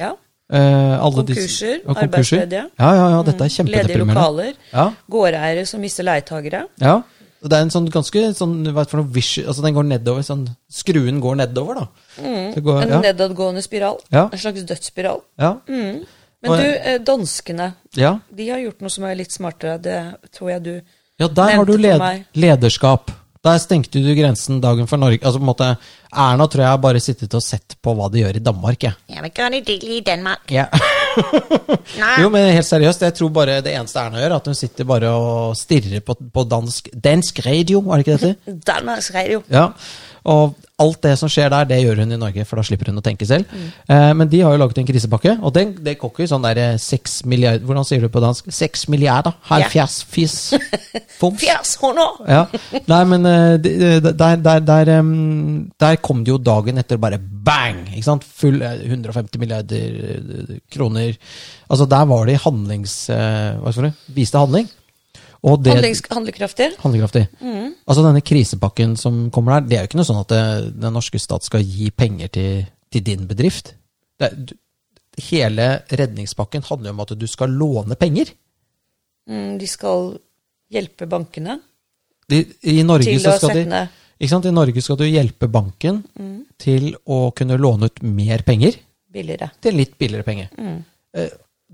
[SPEAKER 2] Ja.
[SPEAKER 1] Eh, alle de-
[SPEAKER 2] Konkurser,
[SPEAKER 1] Ja,
[SPEAKER 2] arbeidsledige. Mm.
[SPEAKER 1] Ja, ja, ja, dette er
[SPEAKER 2] Ledige
[SPEAKER 1] kjempedeprimerende.
[SPEAKER 2] lokaler.
[SPEAKER 1] Ja,
[SPEAKER 2] Gårdeiere som mister leietagere.
[SPEAKER 1] ja. Og Det er en sånn ganske sånn, hva er det for noe, vish, altså den går nedover, sånn, skruen går nedover, da. Det går,
[SPEAKER 2] Mm. En Mm.
[SPEAKER 1] ja,
[SPEAKER 2] nedadgående spiral.
[SPEAKER 1] Ja.
[SPEAKER 2] En slags dødsspiral.
[SPEAKER 1] ja, Og-
[SPEAKER 2] Men du, eh, danskene,
[SPEAKER 1] ja.
[SPEAKER 2] de har gjort noe som er litt smartere. Det tror jeg du
[SPEAKER 1] ja, der har
[SPEAKER 2] Nevnte
[SPEAKER 1] du
[SPEAKER 2] for
[SPEAKER 1] led,
[SPEAKER 2] meg.
[SPEAKER 1] lederskap. Der stengte du grensen dagen for Norge. Altså på en måte, Erna tror jeg har bare sittet og sett på hva de gjør i Danmark, jeg.
[SPEAKER 3] Jeg vil gøre det i Danmark.
[SPEAKER 1] Ja.
[SPEAKER 3] Nej.
[SPEAKER 1] (laughs) Jo, men helt seriøst, jeg tror bare det eneste Erna gjør, er at hun sitter bare og stirrer på, på dansk, dansk radio, var det ikke det det?
[SPEAKER 2] Mhm.
[SPEAKER 1] heter?
[SPEAKER 2] Danmarks Radio.
[SPEAKER 1] Ja. Og alt det som skjer der, det gjør hun i Norge, for da slipper hun å tenke selv.
[SPEAKER 2] Mhm.
[SPEAKER 1] Eh, men de har jo laget en krisepakke, og den, det koker sånn der seks milliarder Hvordan sier du på dansk? Seks milliarder? Halvfjerds fis?
[SPEAKER 2] (laughs)
[SPEAKER 1] Foms?
[SPEAKER 2] 400!
[SPEAKER 1] Ja. Nei, men eh, de- de- der, der, der, em, der kom det jo dagen etter bare bang! Ikke sant? Full eh, 150 milliarder eh, kroner. Altså, der var de handlings... eh, Hva skal du Viste handling. Og det,
[SPEAKER 2] Handlings- Mm. Handlekraftige.
[SPEAKER 1] Handlekraftig. Altså denne krisepakken som kommer der, det er jo ikke noe sånn at det, den norske stat skal gi penger til, til din bedrift. Det, er- du, hele redningspakken handler jo om at du skal låne penger.
[SPEAKER 2] Mm, de skal hjelpe bankene
[SPEAKER 1] De, I Norge
[SPEAKER 2] til
[SPEAKER 1] så
[SPEAKER 2] å
[SPEAKER 1] skal
[SPEAKER 2] sette
[SPEAKER 1] de
[SPEAKER 2] ned
[SPEAKER 1] ikke sant? I Norge skal du hjelpe banken til å kunne låne ut mer penger
[SPEAKER 2] billigere.
[SPEAKER 1] til litt billigere penger. Eh,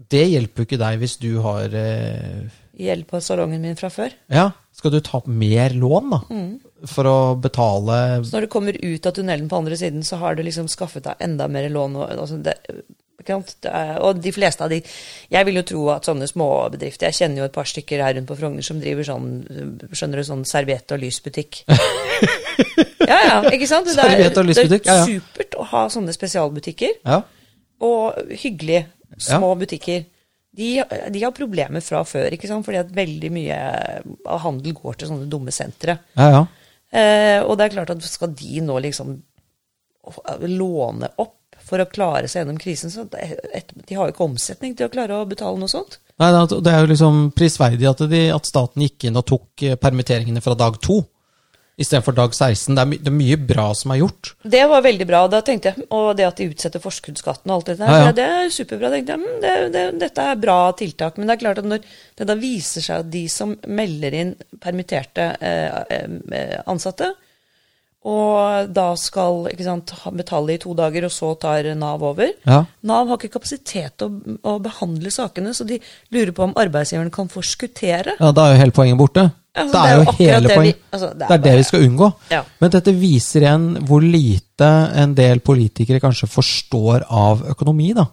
[SPEAKER 1] Det hjelper jo ikke deg hvis du har eh,
[SPEAKER 2] gjeld på salongen min fra før.
[SPEAKER 1] Ja, skal du ta opp mer lån, da? For å betale
[SPEAKER 2] Så når du kommer ut av tunnelen på andre siden, så har du liksom skaffet deg enda mer lån. Og, altså det, ikke sant? Det er, og de fleste av de Jeg vil jo tro at sånne småbedrifter Jeg kjenner jo et par stykker her rundt på Frogner som driver sånn skjønner du, sånn serviett-
[SPEAKER 1] (laughs)
[SPEAKER 2] og lysbutikk. ja, ja, ikke sant? Det er,
[SPEAKER 1] Serviett og lysbutikk,
[SPEAKER 2] det
[SPEAKER 1] ja, ja.
[SPEAKER 2] er supert å ha sånne spesialbutikker.
[SPEAKER 1] Ja.
[SPEAKER 2] Og hyggelige, små butikker. De, de har problemer fra før, ikke sant? fordi at veldig mye av handel går til sånne dumme sentre.
[SPEAKER 1] Ja, ja.
[SPEAKER 2] Eh, og det er klart at skal de nå liksom låne opp for å klare seg gjennom krisen, så det- et, de har jo ikke omsetning til å klare å betale noe sånt.
[SPEAKER 1] Nei, det er- det er jo liksom prisverdig at, de, at staten gikk inn og tok eh, permitteringene fra dag to istedenfor dag 16. Det er, my, det er mye bra som er gjort.
[SPEAKER 2] Det var veldig bra, da tenkte jeg. hm, Og det at de utsetter forskuddsskatten og alt dette der,
[SPEAKER 1] Ja, ja.
[SPEAKER 2] det er superbra. tenkte jeg, hm, det, det, Dette er bra tiltak. Men det er klart at når det da viser seg at de som melder inn permitterte eh, eh, ansatte, og da skal ikke sant, ha- betale i to dager, og så tar Nav over.
[SPEAKER 1] Ja.
[SPEAKER 2] Nav har ikke kapasitet til å, å behandle sakene, så de lurer på om arbeidsgiveren kan forskuttere.
[SPEAKER 1] Ja, Da er jo hele poenget borte.
[SPEAKER 2] Ja, altså,
[SPEAKER 1] det er jo
[SPEAKER 2] akkurat
[SPEAKER 1] hele
[SPEAKER 2] det vi-
[SPEAKER 1] poenget.
[SPEAKER 2] altså,
[SPEAKER 1] Det er det
[SPEAKER 2] bare-
[SPEAKER 1] vi skal unngå.
[SPEAKER 2] Ja.
[SPEAKER 1] Men dette viser igjen hvor lite en del politikere kanskje forstår av økonomi, da.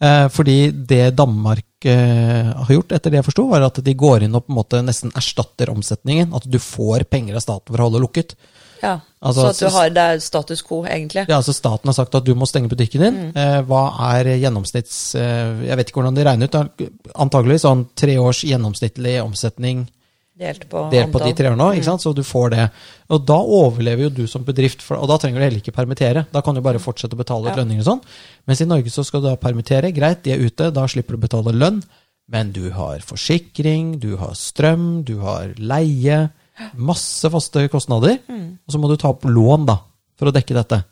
[SPEAKER 1] Eh, fordi det Danmark eh, har gjort, etter det jeg forsto, var at de går inn og på en måte nesten erstatter omsetningen. At du får penger av staten for å holde lukket.
[SPEAKER 2] Ja,
[SPEAKER 1] Altså,
[SPEAKER 2] så at du har det er status quo, egentlig.
[SPEAKER 1] Ja, altså Staten har sagt at du må stenge butikken din.
[SPEAKER 2] Mm.
[SPEAKER 1] Eh, hva er gjennomsnitts... Eh, jeg vet ikke hvordan de regner ut. da. Antagelig sånn tre års gjennomsnittlig omsetning
[SPEAKER 2] Delt på
[SPEAKER 1] delt på de
[SPEAKER 2] antall.
[SPEAKER 1] tre årene, ikke sant? så du får det. Og da overlever jo du som bedrift, for, og da trenger du heller ikke permittere. Da kan du bare fortsette å betale ut
[SPEAKER 2] Ja.
[SPEAKER 1] lønninger og sånn. Mens i Norge så skal du da permittere, greit, de er ute, da slipper du å betale lønn. Men du har forsikring, du har strøm, du har leie. Masse faste kostnader. Og så må du ta opp lån da, for å dekke dette.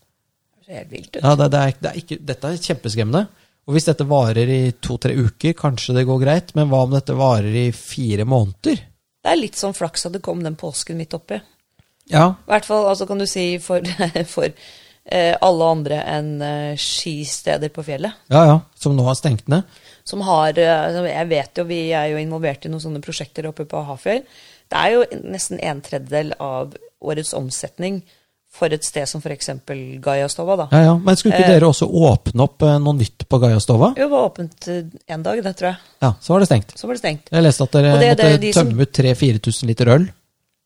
[SPEAKER 2] Det er helt vilt. ut.
[SPEAKER 1] Ja, det, det er, det er ikke, dette er kjempeskremmende. Og hvis dette varer i to-tre uker, kanskje det går greit, men hva om dette varer i fire måneder?
[SPEAKER 2] Det er litt sånn flaks at det kom den påsken midt oppi.
[SPEAKER 1] Ja,
[SPEAKER 2] I hvert fall altså kan du si for, (laughs) for eh, alle andre enn eh, skisteder på fjellet.
[SPEAKER 1] Ja, ja, som nå har stengt ned.
[SPEAKER 2] Som har eh, altså, Jeg vet jo, vi er jo involvert i noen sånne prosjekter oppe på Hafjell. Det er jo nesten en tredjedel av årets omsetning for et sted som f.eks. Gaiastova, da.
[SPEAKER 1] Ja, ja. Men skulle
[SPEAKER 2] Eh.
[SPEAKER 1] ikke dere også åpne opp eh, noe nytt på Gaiastova?
[SPEAKER 2] Det var åpent én dag, det tror jeg.
[SPEAKER 1] Ja, så var det stengt.
[SPEAKER 2] Så var det stengt.
[SPEAKER 1] Jeg leste at dere
[SPEAKER 2] Og det er
[SPEAKER 1] måtte
[SPEAKER 2] det de som-
[SPEAKER 1] tømme ut 3000-4000 liter øl.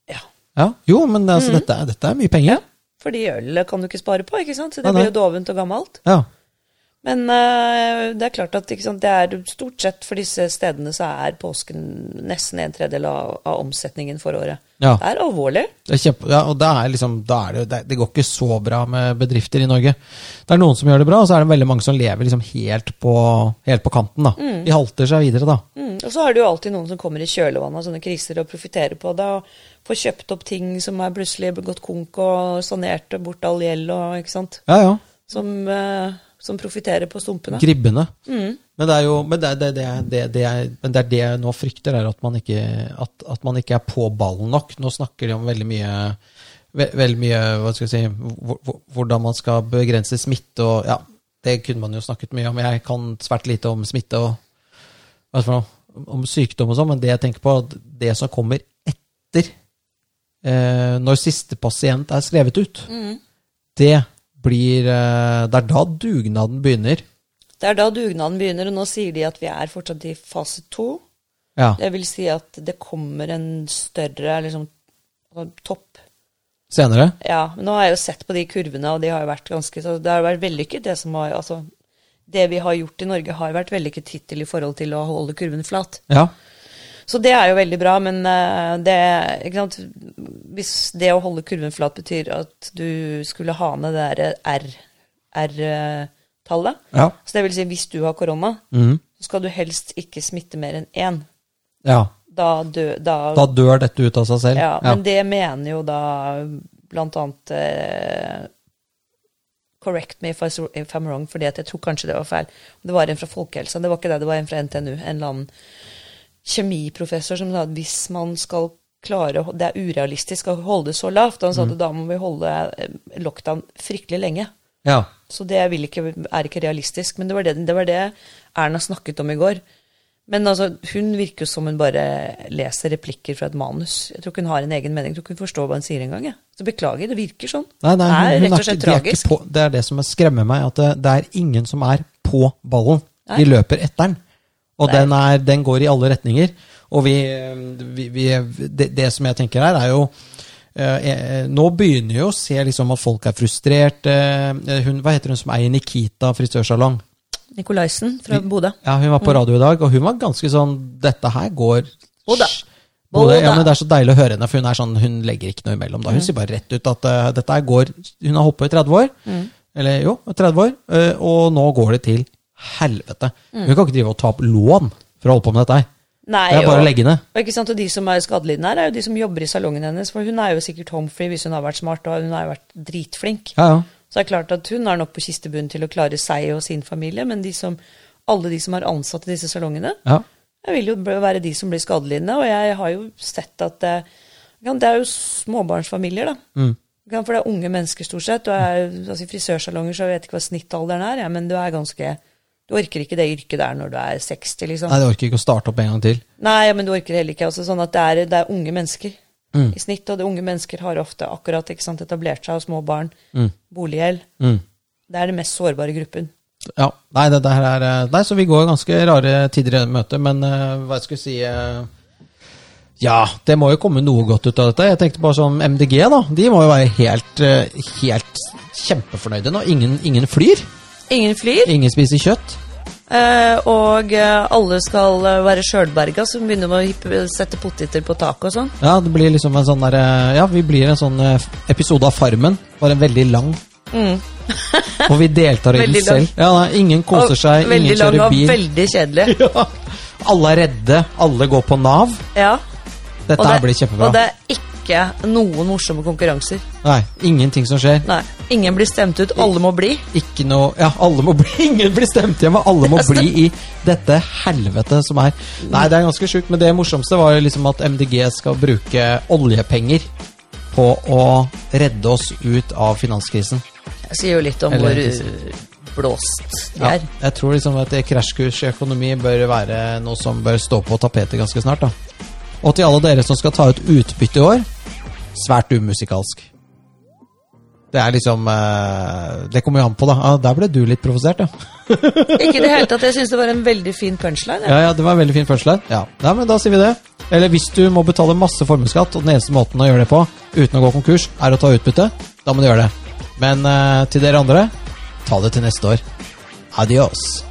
[SPEAKER 2] Ja.
[SPEAKER 1] Ja, Jo, men
[SPEAKER 2] Mm.
[SPEAKER 1] altså, dette, er- dette er mye penger.
[SPEAKER 2] Fordi ølet kan du ikke spare på, ikke sant? Så
[SPEAKER 1] Nei,
[SPEAKER 2] det
[SPEAKER 1] nei.
[SPEAKER 2] blir jo dovent og gammelt.
[SPEAKER 1] Ja.
[SPEAKER 2] Men eh, det er klart at ikke sant, det er stort sett for disse stedene så er påsken nesten en tredjedel av, av omsetningen for året.
[SPEAKER 1] Ja.
[SPEAKER 2] Det er alvorlig.
[SPEAKER 1] Det er kjempe, ja, og det, er liksom, da er det, jo- det, det går ikke så bra med bedrifter i Norge. Det er noen som gjør det bra, og så er det veldig mange som lever liksom helt, på, helt på kanten. da. De halter seg videre, da.
[SPEAKER 2] Mm. Og så er det jo alltid noen som kommer i kjølvannet av sånne kriser og profitterer på det, og får kjøpt opp ting som er plutselig gått konk og sanert og bort all gjeld og ikke sant.
[SPEAKER 1] Ja, ja.
[SPEAKER 2] Som, eh, som profitterer på stumpene.
[SPEAKER 1] Gribbene. Men det er jo men det, det, det, er- det, det er, men det er det jeg nå frykter, er at man ikke, at, at man ikke er på ballen nok. Nå snakker de om veldig mye ve- veldig mye, hva skal jeg si, hvor- hvor- hvordan man skal begrense smitte og ja, Det kunne man jo snakket mye om. Jeg kan svært lite om smitte og hva er det for noe, om sykdom og sånn, men det jeg tenker på, at det som kommer etter eh, når siste pasient er skrevet ut, det blir eh, Det er da dugnaden begynner.
[SPEAKER 2] Det er da dugnaden begynner, og nå sier de at vi er fortsatt i fase to.
[SPEAKER 1] Ja.
[SPEAKER 2] Det vil si at det kommer en større liksom, topp.
[SPEAKER 1] Senere?
[SPEAKER 2] Ja, men nå har jeg jo sett på de kurvene, og de har jo vært ganske så Det har vært vellykket, det som har Altså, det vi har gjort i Norge, har vært vellykket hittil i forhold til å holde kurven flat.
[SPEAKER 1] Ja.
[SPEAKER 2] Så det er jo veldig bra, men eh, det ikke sant? Hvis det å holde kurven flat betyr at du skulle ha ned det derre R-tallet
[SPEAKER 1] Ja.
[SPEAKER 2] eh, Så det vil si, hvis du har korona,
[SPEAKER 1] Mhm.
[SPEAKER 2] så skal du helst ikke smitte mer enn én.
[SPEAKER 1] ja.
[SPEAKER 2] Da, dø, da,
[SPEAKER 1] Da dør dette ut av seg selv?
[SPEAKER 2] ja, Men det mener jo da blant annet eh, Correct me if, I, if I'm wrong, fordi at jeg tror kanskje det var feil. Det var en fra folkehelsa, det var ikke det, det var en fra NTNU. En eller annen kjemiprofessor som sa at hvis man skal klare å ho- Det er urealistisk å holde det så lavt. Han sa at da må vi holde eh, lockdown fryktelig lenge.
[SPEAKER 1] Ja.
[SPEAKER 2] Så det vil ikke, er ikke realistisk. Men det var det, det var det Erna snakket om i går. Men altså, hun virker jo som hun bare leser replikker fra et manus. Jeg tror ikke hun har en egen mening. Jeg tror ikke hun forstår hva hun sier engang. jeg. Så beklager, det virker sånn.
[SPEAKER 1] Nei, nei, hun, hun
[SPEAKER 2] det er rett og
[SPEAKER 1] er
[SPEAKER 2] slett
[SPEAKER 1] ikke, de er ikke
[SPEAKER 2] tragisk.
[SPEAKER 1] på, det er det som skremmer meg, at det, det er ingen som er på ballen.
[SPEAKER 2] Nei.
[SPEAKER 1] De løper etter den. Og
[SPEAKER 2] Nei.
[SPEAKER 1] den, er, den går i alle retninger. Og vi, vi, vi det, det som jeg tenker her, er jo eh, eh, Nå begynner jo å se liksom at folk er frustrert. eh, Hun, hva heter hun som eier Nikita frisørsalong?
[SPEAKER 2] Nikolaisen fra Bodø.
[SPEAKER 1] Ja, hun var på radio i dag, og hun var ganske sånn Dette her går
[SPEAKER 2] Bodø.
[SPEAKER 1] Bodø, ja,
[SPEAKER 2] Bodø.
[SPEAKER 1] men Det Mm. er så deilig å høre henne, for hun er sånn, hun legger ikke noe imellom. da. Hun sier bare rett ut at eh, dette her går Hun har holdt på i 30 år, eller jo, 30 år, eh, og nå går det til helvete. Hun kan ikke drive og ta opp lån for å holde på med dette her.
[SPEAKER 2] Nei,
[SPEAKER 1] Det er bare å
[SPEAKER 2] og-
[SPEAKER 1] legge ned.
[SPEAKER 2] Og, ikke sant? og de som er skadelidende her, er jo de som jobber i salongen hennes. For hun er jo sikkert homefree hvis hun har vært smart, og hun har jo vært dritflink.
[SPEAKER 1] Ja, ja.
[SPEAKER 2] Så det er klart at hun er nok på kistebunnen til å klare seg og sin familie, men de som, alle de som er ansatt i disse salongene,
[SPEAKER 1] ja.
[SPEAKER 2] Jeg vil jo b- være de som blir skadelidende, og jeg har jo sett at det, ikke sant, det er jo småbarnsfamilier, da. Ikke sant, For det er unge mennesker stort sett, og jeg, altså, i frisørsalonger så vet jeg ikke hva snittalderen er, ja, men du er ganske Du orker ikke det yrket der når du er 60, liksom.
[SPEAKER 1] Nei, det orker ikke å starte opp en gang til.
[SPEAKER 2] Nei, ja, men du orker heller ikke. Altså, sånn at det er, det er unge mennesker i snitt, og det unge mennesker har ofte akkurat ikke sant, etablert seg, og små barn, boliggjeld. Det er den mest sårbare gruppen.
[SPEAKER 1] Ja, nei, det der er eh, Nei, så vi går ganske rare tider i møte, men eh, hva jeg skulle si eh, Ja, det må jo komme noe godt ut av dette. Jeg tenkte bare sånn MDG, da. De må jo være helt, eh, helt kjempefornøyde nå. Ingen, ingen flyr.
[SPEAKER 2] Ingen flyr.
[SPEAKER 1] Ingen spiser kjøtt.
[SPEAKER 2] Eh, og eh, alle skal eh, være sjølberga, så begynner vi å hippe- sette poteter på taket og sånn.
[SPEAKER 1] Ja, det blir liksom en sånn der, eh, ja, vi blir en sånn eh, episode av Farmen. Bare en veldig lang. og vi deltar i den
[SPEAKER 2] Mm. Veldig lang.
[SPEAKER 1] selv. Ja, nei, ingen koser
[SPEAKER 2] Og
[SPEAKER 1] seg,
[SPEAKER 2] veldig
[SPEAKER 1] ingen kjører
[SPEAKER 2] og
[SPEAKER 1] bil.
[SPEAKER 2] veldig kjedelig.
[SPEAKER 1] Ja. (laughs) Alle er redde, alle går på Nav.
[SPEAKER 2] Ja.
[SPEAKER 1] (laughs) Dette her blir kjempebra.
[SPEAKER 2] og det er ikke noen morsomme konkurranser.
[SPEAKER 1] Nei, ingenting som skjer.
[SPEAKER 2] Nei, Ingen blir stemt ut, alle må bli.
[SPEAKER 1] Ikke noe Ja, alle må bli, (laughs) ingen blir stemt hjem, og alle må bli i dette helvetet som er Nei, det er ganske sjukt, men det morsomste var jo liksom at MDG skal bruke oljepenger på å redde oss ut av finanskrisen.
[SPEAKER 2] Jeg sier jo litt om
[SPEAKER 1] Eller-
[SPEAKER 2] hvor uh, blåst de
[SPEAKER 1] Ja,
[SPEAKER 2] er.
[SPEAKER 1] jeg tror liksom at det krasjkurs i økonomi bør være noe som bør stå på tapetet ganske snart. da. Og til alle dere som skal ta ut utbytte i år svært umusikalsk. Det er liksom eh, Det kommer jo an på, da. Ah, der ble du litt provosert, ja.
[SPEAKER 2] Ikke i det hele tatt. Jeg syns det var en veldig fin punchline. Ja.
[SPEAKER 1] Ja, ja, det var en veldig fin punchline. Ja. Nei, men da sier vi det. Eller hvis du må betale masse formuesskatt, og den eneste måten å gjøre det på uten å gå konkurs, er å ta utbytte, da må du gjøre det. Men eh, til dere andre, ta det til neste år. Adios.